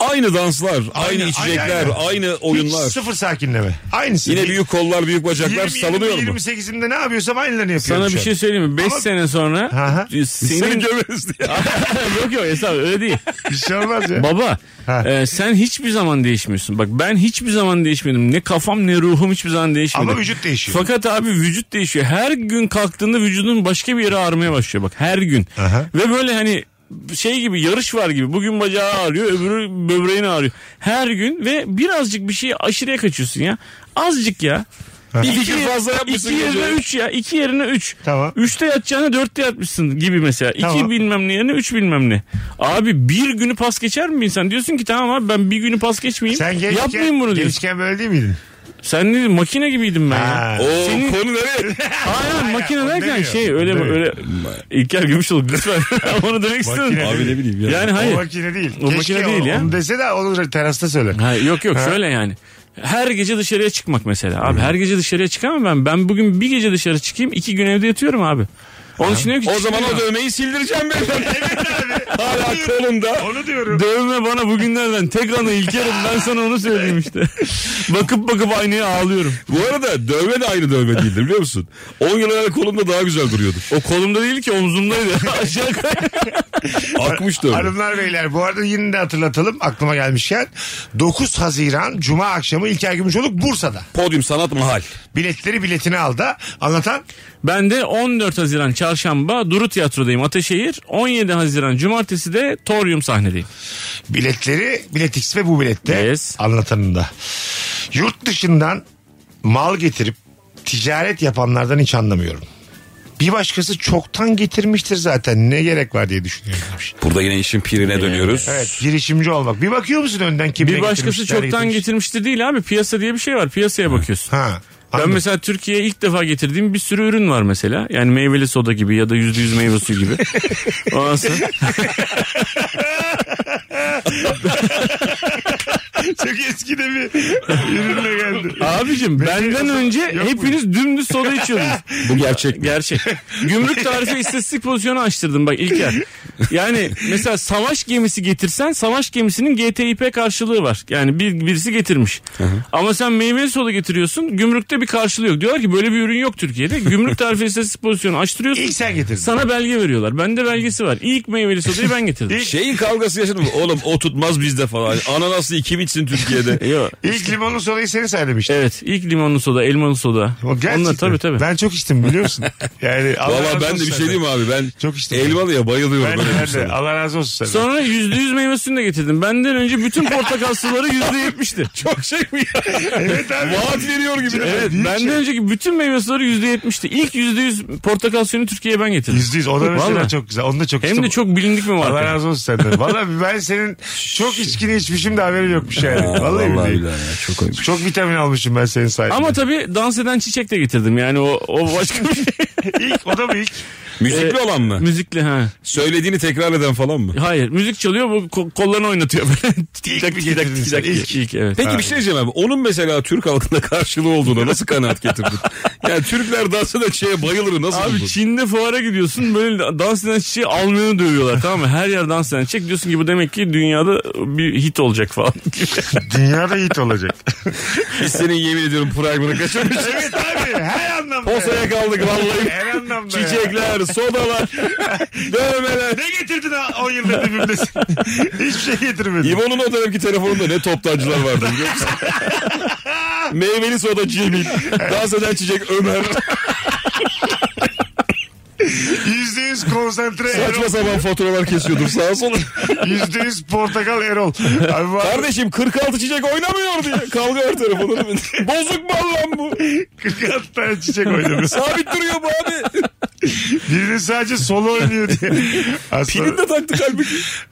Aynı danslar, aynı, Aynı- içecekler, aynı- aynı oyunlar. Hiç sıfır sakinleme. Aynısı. Yine büyük kollar, büyük bacaklar salınıyor mu? 28'imde ne yapıyorsam aynılarını yapıyorum. Sana bir şu an. şey söyleyeyim mi? 5 Ama- sene sonra e, Aha. senin... gömeriz diye. yok yok hesap öyle değil. Bir şey olmaz ya. Baba Ha. e, sen hiçbir zaman değişmiyorsun. Bak ben hiçbir zaman değişmedim. Ne kafam ne ruhum hiçbir zaman değişmedi. Ama vücut değişiyor. Fakat abi vücut değişiyor. Her gün kalktığında vücudun başka bir yeri ağrımaya başlıyor bak her gün. Aha. Ve böyle hani şey gibi yarış var gibi. Bugün bacağı ağrıyor öbürü böbreğini ağrıyor. Her gün ve birazcık bir şeye aşırıya kaçıyorsun ya. Azıcık ya. Bir fikir fazla yapmışsın. İki yerine gece. üç ya. iki yerine üç. Tamam. Üçte yatacağına dörtte yatmışsın gibi mesela. İki Tamam. bilmem ne yerine üç bilmem ne. Abi bir günü pas geçer mi insan? Diyorsun ki tamam abi ben bir günü pas geçmeyeyim. Sen gençken, Yapmayayım bunu diyorsun. gençken böyle değil miydin? Sen ne makine gibiydim ben ya. Ha. O Senin- konu nereye? Hayır makine onu derken demiyor, şey onu öyle demiyor. öyle İlker Gümüşoluk lütfen. Onu demek istedim. Makine Abi ne bileyim ya. Yani O hayır. makine değil. O Keşke makine değil ya. Onu dese de onu terasta söyle. Ha, yok yok şöyle yani. Her gece dışarıya çıkmak mesela. Abi her gece dışarıya çıkamam ben. Ben bugün bir gece dışarı çıkayım iki gün evde yatıyorum abi. Onun için yok ki o zaman o çıkmıyorum. dövmeyi sildireceğim ben. Hala kolumda. Onu diyorum. Dövme bana bugünlerden tek anı İlker'im ben sana onu söyleyeyim işte. bakıp bakıp aynaya ağlıyorum. Bu arada dövme de aynı dövme değildir biliyor musun? 10 yıl evvel kolumda daha güzel duruyordu. O kolumda değil ki omzumdaydı. Aşağı kay- Akmış dövme. Hanımlar beyler bu arada yine de hatırlatalım aklıma gelmişken 9 Haziran Cuma akşamı İlker Gümüşoluk Bursa'da. Podyum sanat mahal. Biletleri biletini aldı. Anlatan Ben de 14 Haziran çarşamba Duru Tiyatro'dayım Ateşehir. 17 Haziran cumartesi de Torium sahnedeyim. biletleri biletix ve bu bilette Yes. anlatanın da. Yurt dışından mal getirip ticaret yapanlardan hiç anlamıyorum. Bir başkası çoktan getirmiştir zaten ne gerek var diye düşünüyorum. demiş. Burada yine işin pirine dönüyoruz. Ee, Evet girişimci olmak. Bir bakıyor musun önden kimle Bir başkası getirmişler, çoktan getirmiştir değil abi. Piyasa diye bir şey var. Piyasaya bakıyorsun. Ha. Ben anladım. mesela Türkiye'ye ilk defa getirdiğim bir sürü ürün var mesela. Yani meyveli soda gibi ya da yüzde yüz meyve suyu gibi. Ondan sonra- Çok eskide bir ürünle geldi. Abicim benden önce hepiniz dümdüz soda içiyordunuz. Bu gerçek mi? Gerçek. Gümrük tarife istatistik pozisyonu açtırdım bak İlker. Yani mesela savaş gemisi getirsen savaş gemisinin GTİP karşılığı var. Yani bir, birisi getirmiş. Ama sen meyveli soda getiriyorsun gümrükte bir karşılığı yok. Diyorlar ki böyle bir ürün yok Türkiye'de. Gümrük tarife istatistik pozisyonu açtırıyorsun. İlk sen getirdin. Sana belge veriyorlar. Bende belgesi var. İlk meyveli sodayı ben getirdim. Şeyin kavgası yaşadım. Oğlum o tutmaz bizde falan. Ananaslı kim içsin Türkiye'de? Yok. İlk limonlu sodayı seni saylamıştın. Evet ilk limonlu soda, elmalı soda. O gerçekten. Onunla tabii tabii. Ben çok içtim biliyor musun? Yani Allah razı Valla ben de olsun bir şey senden. diyeyim mi abi ben Çok içtim. Elmalı'ya bayılıyorum. Ben de, öyle bir ben şey. de. Allah razı olsun senden. Sonra yüzde yüz meyve suyunu da getirdim. Benden önce bütün portakal suları yüzde yetmişti. Çok şey mi ya? Evet abi. Vaat veriyor gibi. Evet. Evet. Büyük Benden şey. önceki bütün meyve suları yüzde yetmişti. İlk yüzde yüz portakal suyunu Türkiye'ye ben getirdim. Yüzde yüz. O da mesela Vallahi. şey çok güzel. Onu da çok Hem içtim. de çok bilindik bir Allah marka. razı olsun senden. Valla ben senin çok içkini içmişim de haberim yokmuş yani. Vallahi, billahi. çok ayıp. Çok vitamin almışım ben senin sayende. Ama tabii dans eden çiçek de getirdim. Yani o, o başka bir şey. ilk, o da mı ilk? Müzikli olan mı? Müzikli ha. Söylediğini tekrar eden falan mı? Hayır müzik çalıyor bu ko- kollarını oynatıyor. böyle. Tik tak, tik tak, tik tak. İlk. İlk evet. Peki bir şey diyeceğim abi. Onun mesela Türk halkında karşılığı olduğuna nasıl kanaat getirdin? yani Türkler dansa da şeye bayılır nasıl Abi buldun? Çin'de fuara gidiyorsun böyle dans eden çiçeği almayanı dövüyorlar tamam mı? Her yer dans eden çiçek diyorsun ki bu demek ki dünyada bir hit olacak falan. Dünyada hit olacak. Biz senin yemin ediyorum primer'ı kaçırmış. evet abi her anlamda. Posaya kaldık vallahi. Her anlamda. ya. Çiçekler, sodalar, dövmeler. Ne getirdin ha 10 yıldır dibimdesin? Hiçbir şey getirmedin. İbo'nun o dönemki telefonunda ne toptancılar vardı biliyor musun? Meyveli soda Cemil. Dans eden çiçek Ömer. Yüzde yüz konsantre Erol. Saçma sapan faturalar kesiyordum sağa sola. Yüzde yüz portakal Erol. Abi var. Kardeşim 46 çiçek oynamıyor diye. Kavga her telefonda. Bozuk mal lan bu. 46 tane çiçek oynadı. Sabit duruyor bu abi. Birini sadece solo oynuyor diye. Az Pilini sonra, de taktı kalbi.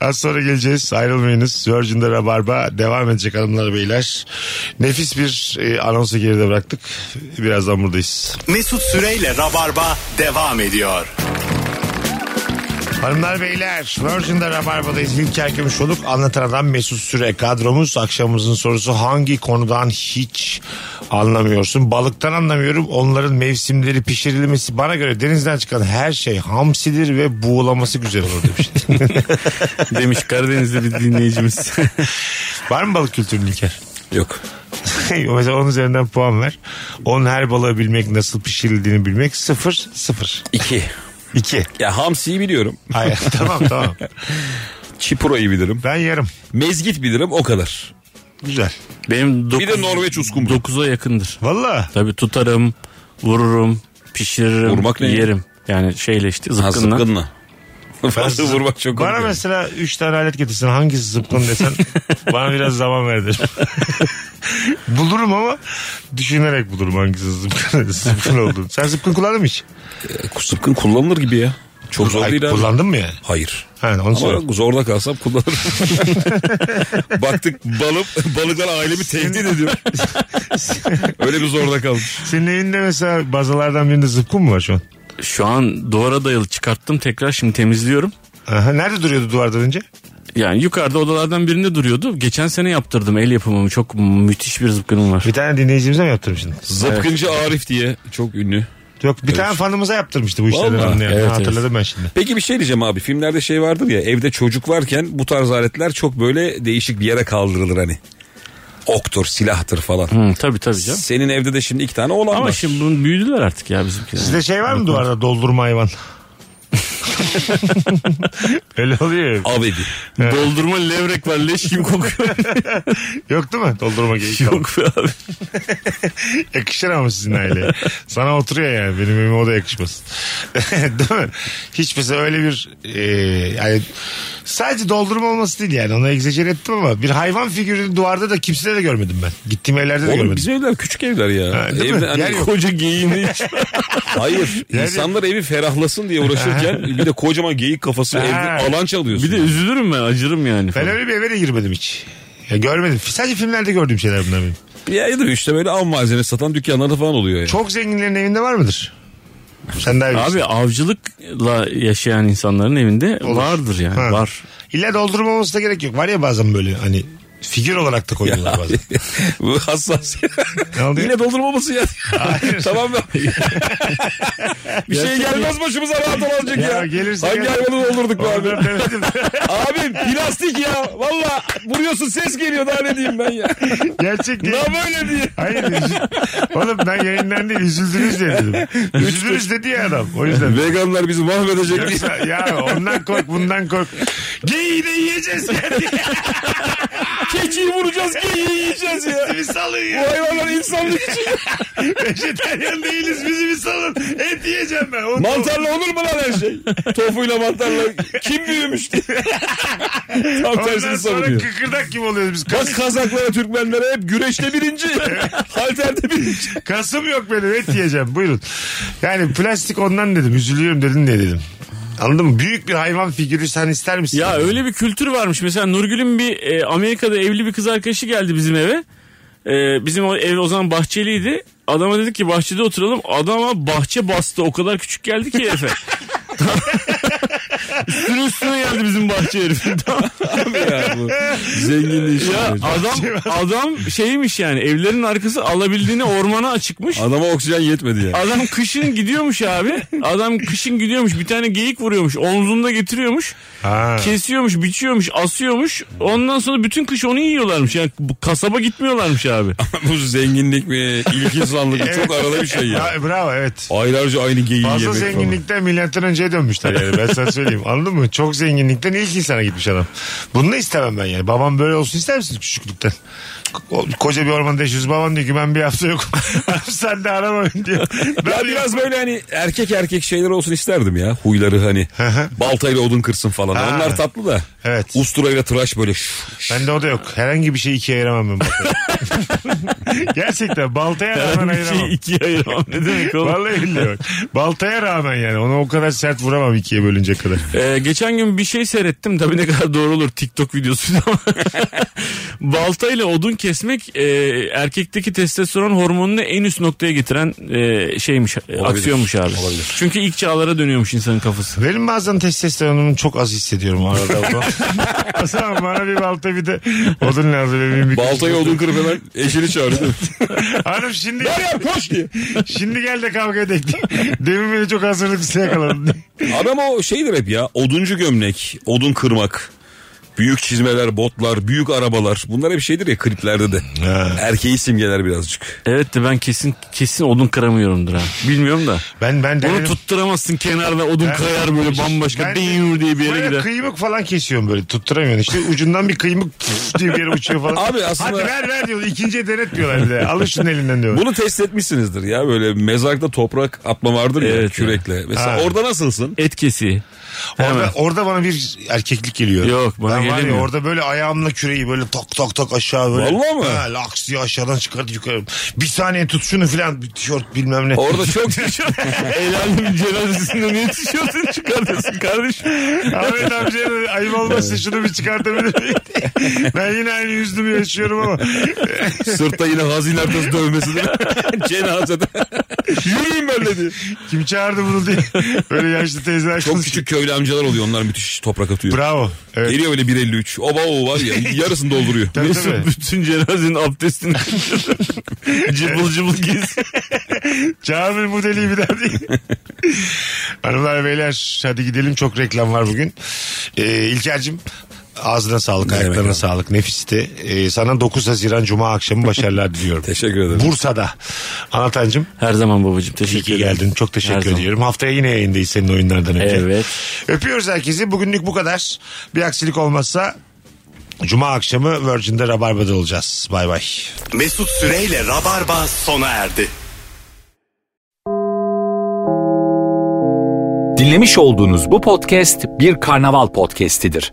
az sonra geleceğiz. Ayrılmayınız. Virgin'de Rabarba devam edecek hanımlar beyler. Nefis bir e, anonsu geride bıraktık. Birazdan buradayız. Mesut Süreyle Rabarba devam ediyor. Hanımlar beyler Virgin'de Rabarba'dayız. İlker Gümüşoluk anlatan adam Mesut Süre kadromuz. Akşamımızın sorusu hangi konudan hiç anlamıyorsun? Balıktan anlamıyorum. Onların mevsimleri pişirilmesi bana göre denizden çıkan her şey hamsidir ve buğulaması güzel olur demiş. Demiş Karadenizli bir dinleyicimiz. Var mı balık kültürünün İlker? Yok. Mesela onun üzerinden puan ver. Onun her balığı bilmek nasıl pişirildiğini bilmek sıfır sıfır. İki. İki. Ya hamsiyi biliyorum. Hayır tamam tamam. Çipura'yı bilirim. Ben yarım. Mezgit bilirim o kadar. Güzel. Benim dokuz, Bir de Norveç uskumru. 9'a yakındır. Valla. Tabii tutarım, vururum, pişiririm, Vurmak ne ya? yerim. Yani şeyle işte zıpkınla. Fazla vurmak çok Bana korkuyorum. mesela 3 tane alet getirsin hangisi zıpkın desen bana biraz zaman ver derim. bulurum ama düşünerek bulurum hangisi zıpkın, zıpkın olduğunu. Sen zıpkın kullandın mı hiç? Sıpkın E, kullanılır gibi ya. Çok zor Ay, değil abi. kullandın mı yani? Hayır. Ha, onu Ama sor. zorda kalsam kullanırım. Baktık balım, balıklar ailemi tehdit ediyor. Öyle bir zorda kalmış. Senin evinde mesela bazalardan birinde zıpkın mı var şu an? Şu an duvara dayalı çıkarttım tekrar şimdi temizliyorum. Aha, nerede duruyordu duvardan önce? Yani yukarıda odalardan birinde duruyordu. Geçen sene yaptırdım el yapımımı. Çok müthiş bir zıpkınım var. Bir tane dinleyicimize mi yaptırmıştın? Zıpkıncı Arif diye çok ünlü. Yok bir tane fanımıza yaptırmıştı bu işleri. Vallahi. Yani. Evet, hatırladım ben şimdi. Peki bir şey diyeceğim abi. Filmlerde şey vardır ya evde çocuk varken bu tarz aletler çok böyle değişik bir yere kaldırılır hani. Oktur, silahtır falan. Hı, tabii tabii canım. Senin evde de şimdi iki tane olan Ama var. şey- şimdi bunun büyüdüler artık ya bizimkiler. Sizde şey var mı duvarda doldurma hayvan? Öyle oluyor. ya. Abi bir. Doldurma levrek var leş gibi kokuyor. Yok değil mi? Doldurma gereği yok. Yok be abi. Yakışır ama sizin aileye. Sana oturuyor yani. Benim evime o da yakışmaz. değil mi? Hiç mesela öyle bir e, yani sadece doldurma olması değil yani. Onu egzecer ettim ama bir hayvan figürünü duvarda da kimsede de görmedim ben. Gittiğim evlerde de Oğlum görmedim. bizim evler küçük evler ya. Ha, değil mi? Evde hani Yer yok. Koca geyiğini hiç. Hayır. Yani- insanlar evi ferahlasın diye uğraşırken bir de kocaman geyik kafası Ha. evde alan çalıyorsun. Bir de üzülürüm ben acırım yani. Ben Falan. öyle bir eve de girmedim hiç. Ya görmedim. Sadece filmlerde gördüğüm şeyler bunlar benim. Ya, ya da işte böyle av malzemesi satan dükkanlarda falan oluyor ya. Çok zenginlerin evinde var mıdır? Sen daha Abi. Abi avcılıkla yaşayan insanların evinde vardır yani Ha. var. İlla doldurmaması da gerek yok. Var ya bazen böyle hani figür olarak da koyuyorlar bazen. Bu hassas. Ne oldu ya? Yine doldurmaması ya. tamam mı? bir şey gelmez başımıza rahat olacak ya. Ya gelirse Hangi gel- hayvanı doldurduk bu abi? Oğlum ben demedim. Abim plastik ya. Valla vuruyorsun ses geliyor daha ne diyeyim ben ya. Gerçek değil. Ne böyle diye. Hayır. üzü- Oğlum ben yayından değil üzüldünüz diye dedim. Üzüldünüz dedi ya adam. O yüzden. Veganlar bizi mahvedecek diye. Yoksa ya ondan kork bundan kork. Geyiği de yiyeceğiz ya diye. Keçiyi vuracağız geyiği yiyeceğiz ya. Bizi bir salın Bu ya. hayvanlar insanlık için. Vejeteryan değiliz bizi bir salın. Et yiyeceğim ben. O- Mantarla olur mu lan her şey? Tofuyla mantarla kim büyümüş diye. Tam Ondan tersini sonra savunuyor. kıkırdak gibi oluyoruz biz. Bak Kazaklara Türkmenlere hep güreşte birinci. Halterde birinci. Kasım yok benim et yiyeceğim buyurun. Yani plastik ondan dedim üzülüyorum dedin diye dedim. Anladın mı? Büyük bir hayvan figürü sen ister misin? Ya öyle bir kültür varmış. Mesela Nurgül'ün bir e, Amerika'da evli bir kız arkadaşı geldi bizim eve. E, bizim o ev o zaman bahçeliydi. Adama dedik ki bahçede oturalım. Adama bahçe bastı. O kadar küçük geldi ki herife. üstüne üstüne geldi bizim bahçe herifin. Tamam. ya bu zenginliği işi ya hocam. adam adam şeymiş yani evlerin arkası alabildiğine ormana açıkmış. Adama oksijen yetmedi ya. Adam kışın gidiyormuş abi. Adam kışın gidiyormuş. Bir tane geyik vuruyormuş. Omzunda getiriyormuş. Ha. Kesiyormuş, biçiyormuş, asıyormuş. Ondan sonra bütün kış onu yiyorlarmış. Yani bu kasaba gitmiyorlarmış abi. Bu zenginlik mi, ilk insanlık mı? Çok arada bir şey ya. Ya, e, bravo evet. Aylarca aynı geyiği yemek Fazla falan. zenginlikten milyattan önceye dönmüşler yani ben sana söyleyeyim anladın mı? Çok zenginlikten ilk insana gitmiş adam. Bunu da istemem ben yani. Babam böyle olsun ister misin küçüklükten? Ko- koca bir ormanda yaşıyoruz baban diyor ki ben bir hafta yokum. sen de aramayın diyor. Ben Ya diyor, biraz böyle hani erkek erkek şeyler olsun isterdim ya. Huyları hani. Baltayla odun kırsın falan. Ha. Onlar tatlı da. Evet. Usturayla tıraş böyle. şş, şş. Bende o da yok. Herhangi bir şey ikiye ayıramam ben baltaya. Gerçekten baltaya rağmen Bir ayıramam. şey ikiye ayıramam. Ne demek oğlum? Vallahi billahi bak. Baltaya rağmen yani onu o kadar sert vuramam ikiye bölünce kadar. Ee, geçen gün bir şey seyrettim. Tabii ne kadar doğru olur TikTok videosu ama. Baltayla odun kesmek e, erkekteki testosteron hormonunu en üst noktaya getiren e, şeymiş, aksiyonmuş abi. Olabilir. Çünkü ilk çağlara dönüyormuş insanın kafası. Benim bazen testosteronumu çok az hissediyorum arada. o zaman. o zaman bana bir balta bir de odun lazım. Benim bir Baltayla odun kırıp hemen eşini çağırdı. Hanım şimdi Meryem koş diye. şimdi gel de kavga edelim. Demin beni çok hazırlıksız yakaladın. Adam o şeydir hep ya. Oduncu gömlek, odun kırmak. Büyük çizmeler, botlar, büyük arabalar. Bunlar hep şeydir ya kliplerde de. Erkeği simgeler birazcık. Evet de ben kesin kesin odun kıramıyorumdur ha. Bilmiyorum da. Ben ben Onu denedim. tutturamazsın kenarda odun kayar böyle bambaşka Ben- diyur diye bir yere Böyle gider. kıymık falan kesiyorum böyle tutturamıyorsun. İşte ucundan bir kıymık püf diye bir yere uçuyor falan. Abi aslında- Hadi ver ver diyor. İkinciye denetmiyorlar bile. Alın şunun elinden diyor. Bunu test etmişsinizdir ya böyle mezarda toprak atma vardır ya Evet. kürekle. Mesela Ha. orada nasılsın? Et kesiği. Orada, orada bana bir erkeklik geliyor. Yok, bana ben var ya gelemiyor. orada böyle ayağımla küreği böyle tak tak tak aşağı böyle. Vallahi mi? Ha, laks diye aşağıdan çıkartıp yukarı. Bir saniye tut şunu filan bir tişört bilmem ne. Orada çok Helal'in cenazesinde niye tişörtünü çıkartıyorsun? yapıyorsun kardeşim? Ahmet amcaya da ayıp olmasın şunu bir çıkartabilir miyim? ben yine aynı yüzümü yaşıyorum ama. Sırtta yine hazine haritası dövmesi değil mi? Cenazede. Yürüyün ben de diye. Kim çağırdı bunu diye. Böyle yaşlı teyzeler. Çok küçük köylü amcalar oluyor onlar müthiş toprak atıyor. Bravo. Evet. Geliyor böyle 1.53. Oba o var ya yarısını dolduruyor. Tabii, tabii. Mesut bütün cenazenin abdestini cıbıl cıbıl giz. Kamil modeli bir daha değil. Hanımlar beyler hadi gidelim çok reklam var bugün. Ee, İlker'cim ağzına sağlık demek ayaklarına abi. sağlık nefisti. Ee, sana 9 Haziran Cuma akşamı başarılar diliyorum. Teşekkür ederim. Bursa'da. Anlatancım Her zaman babacığım iyi teşekkür ki ederim. geldin. Çok Her teşekkür zaman. ediyorum. Haftaya yine yayındayız senin oyunlardan önce. Evet. Öpüyoruz herkesi. Bugünlük bu kadar. Bir aksilik olmazsa Cuma akşamı Virgin'de Rabarba'da olacağız. Bay bay. Mesut Süreyle Rabarba sona erdi. Dinlemiş olduğunuz bu podcast bir karnaval podcastidir.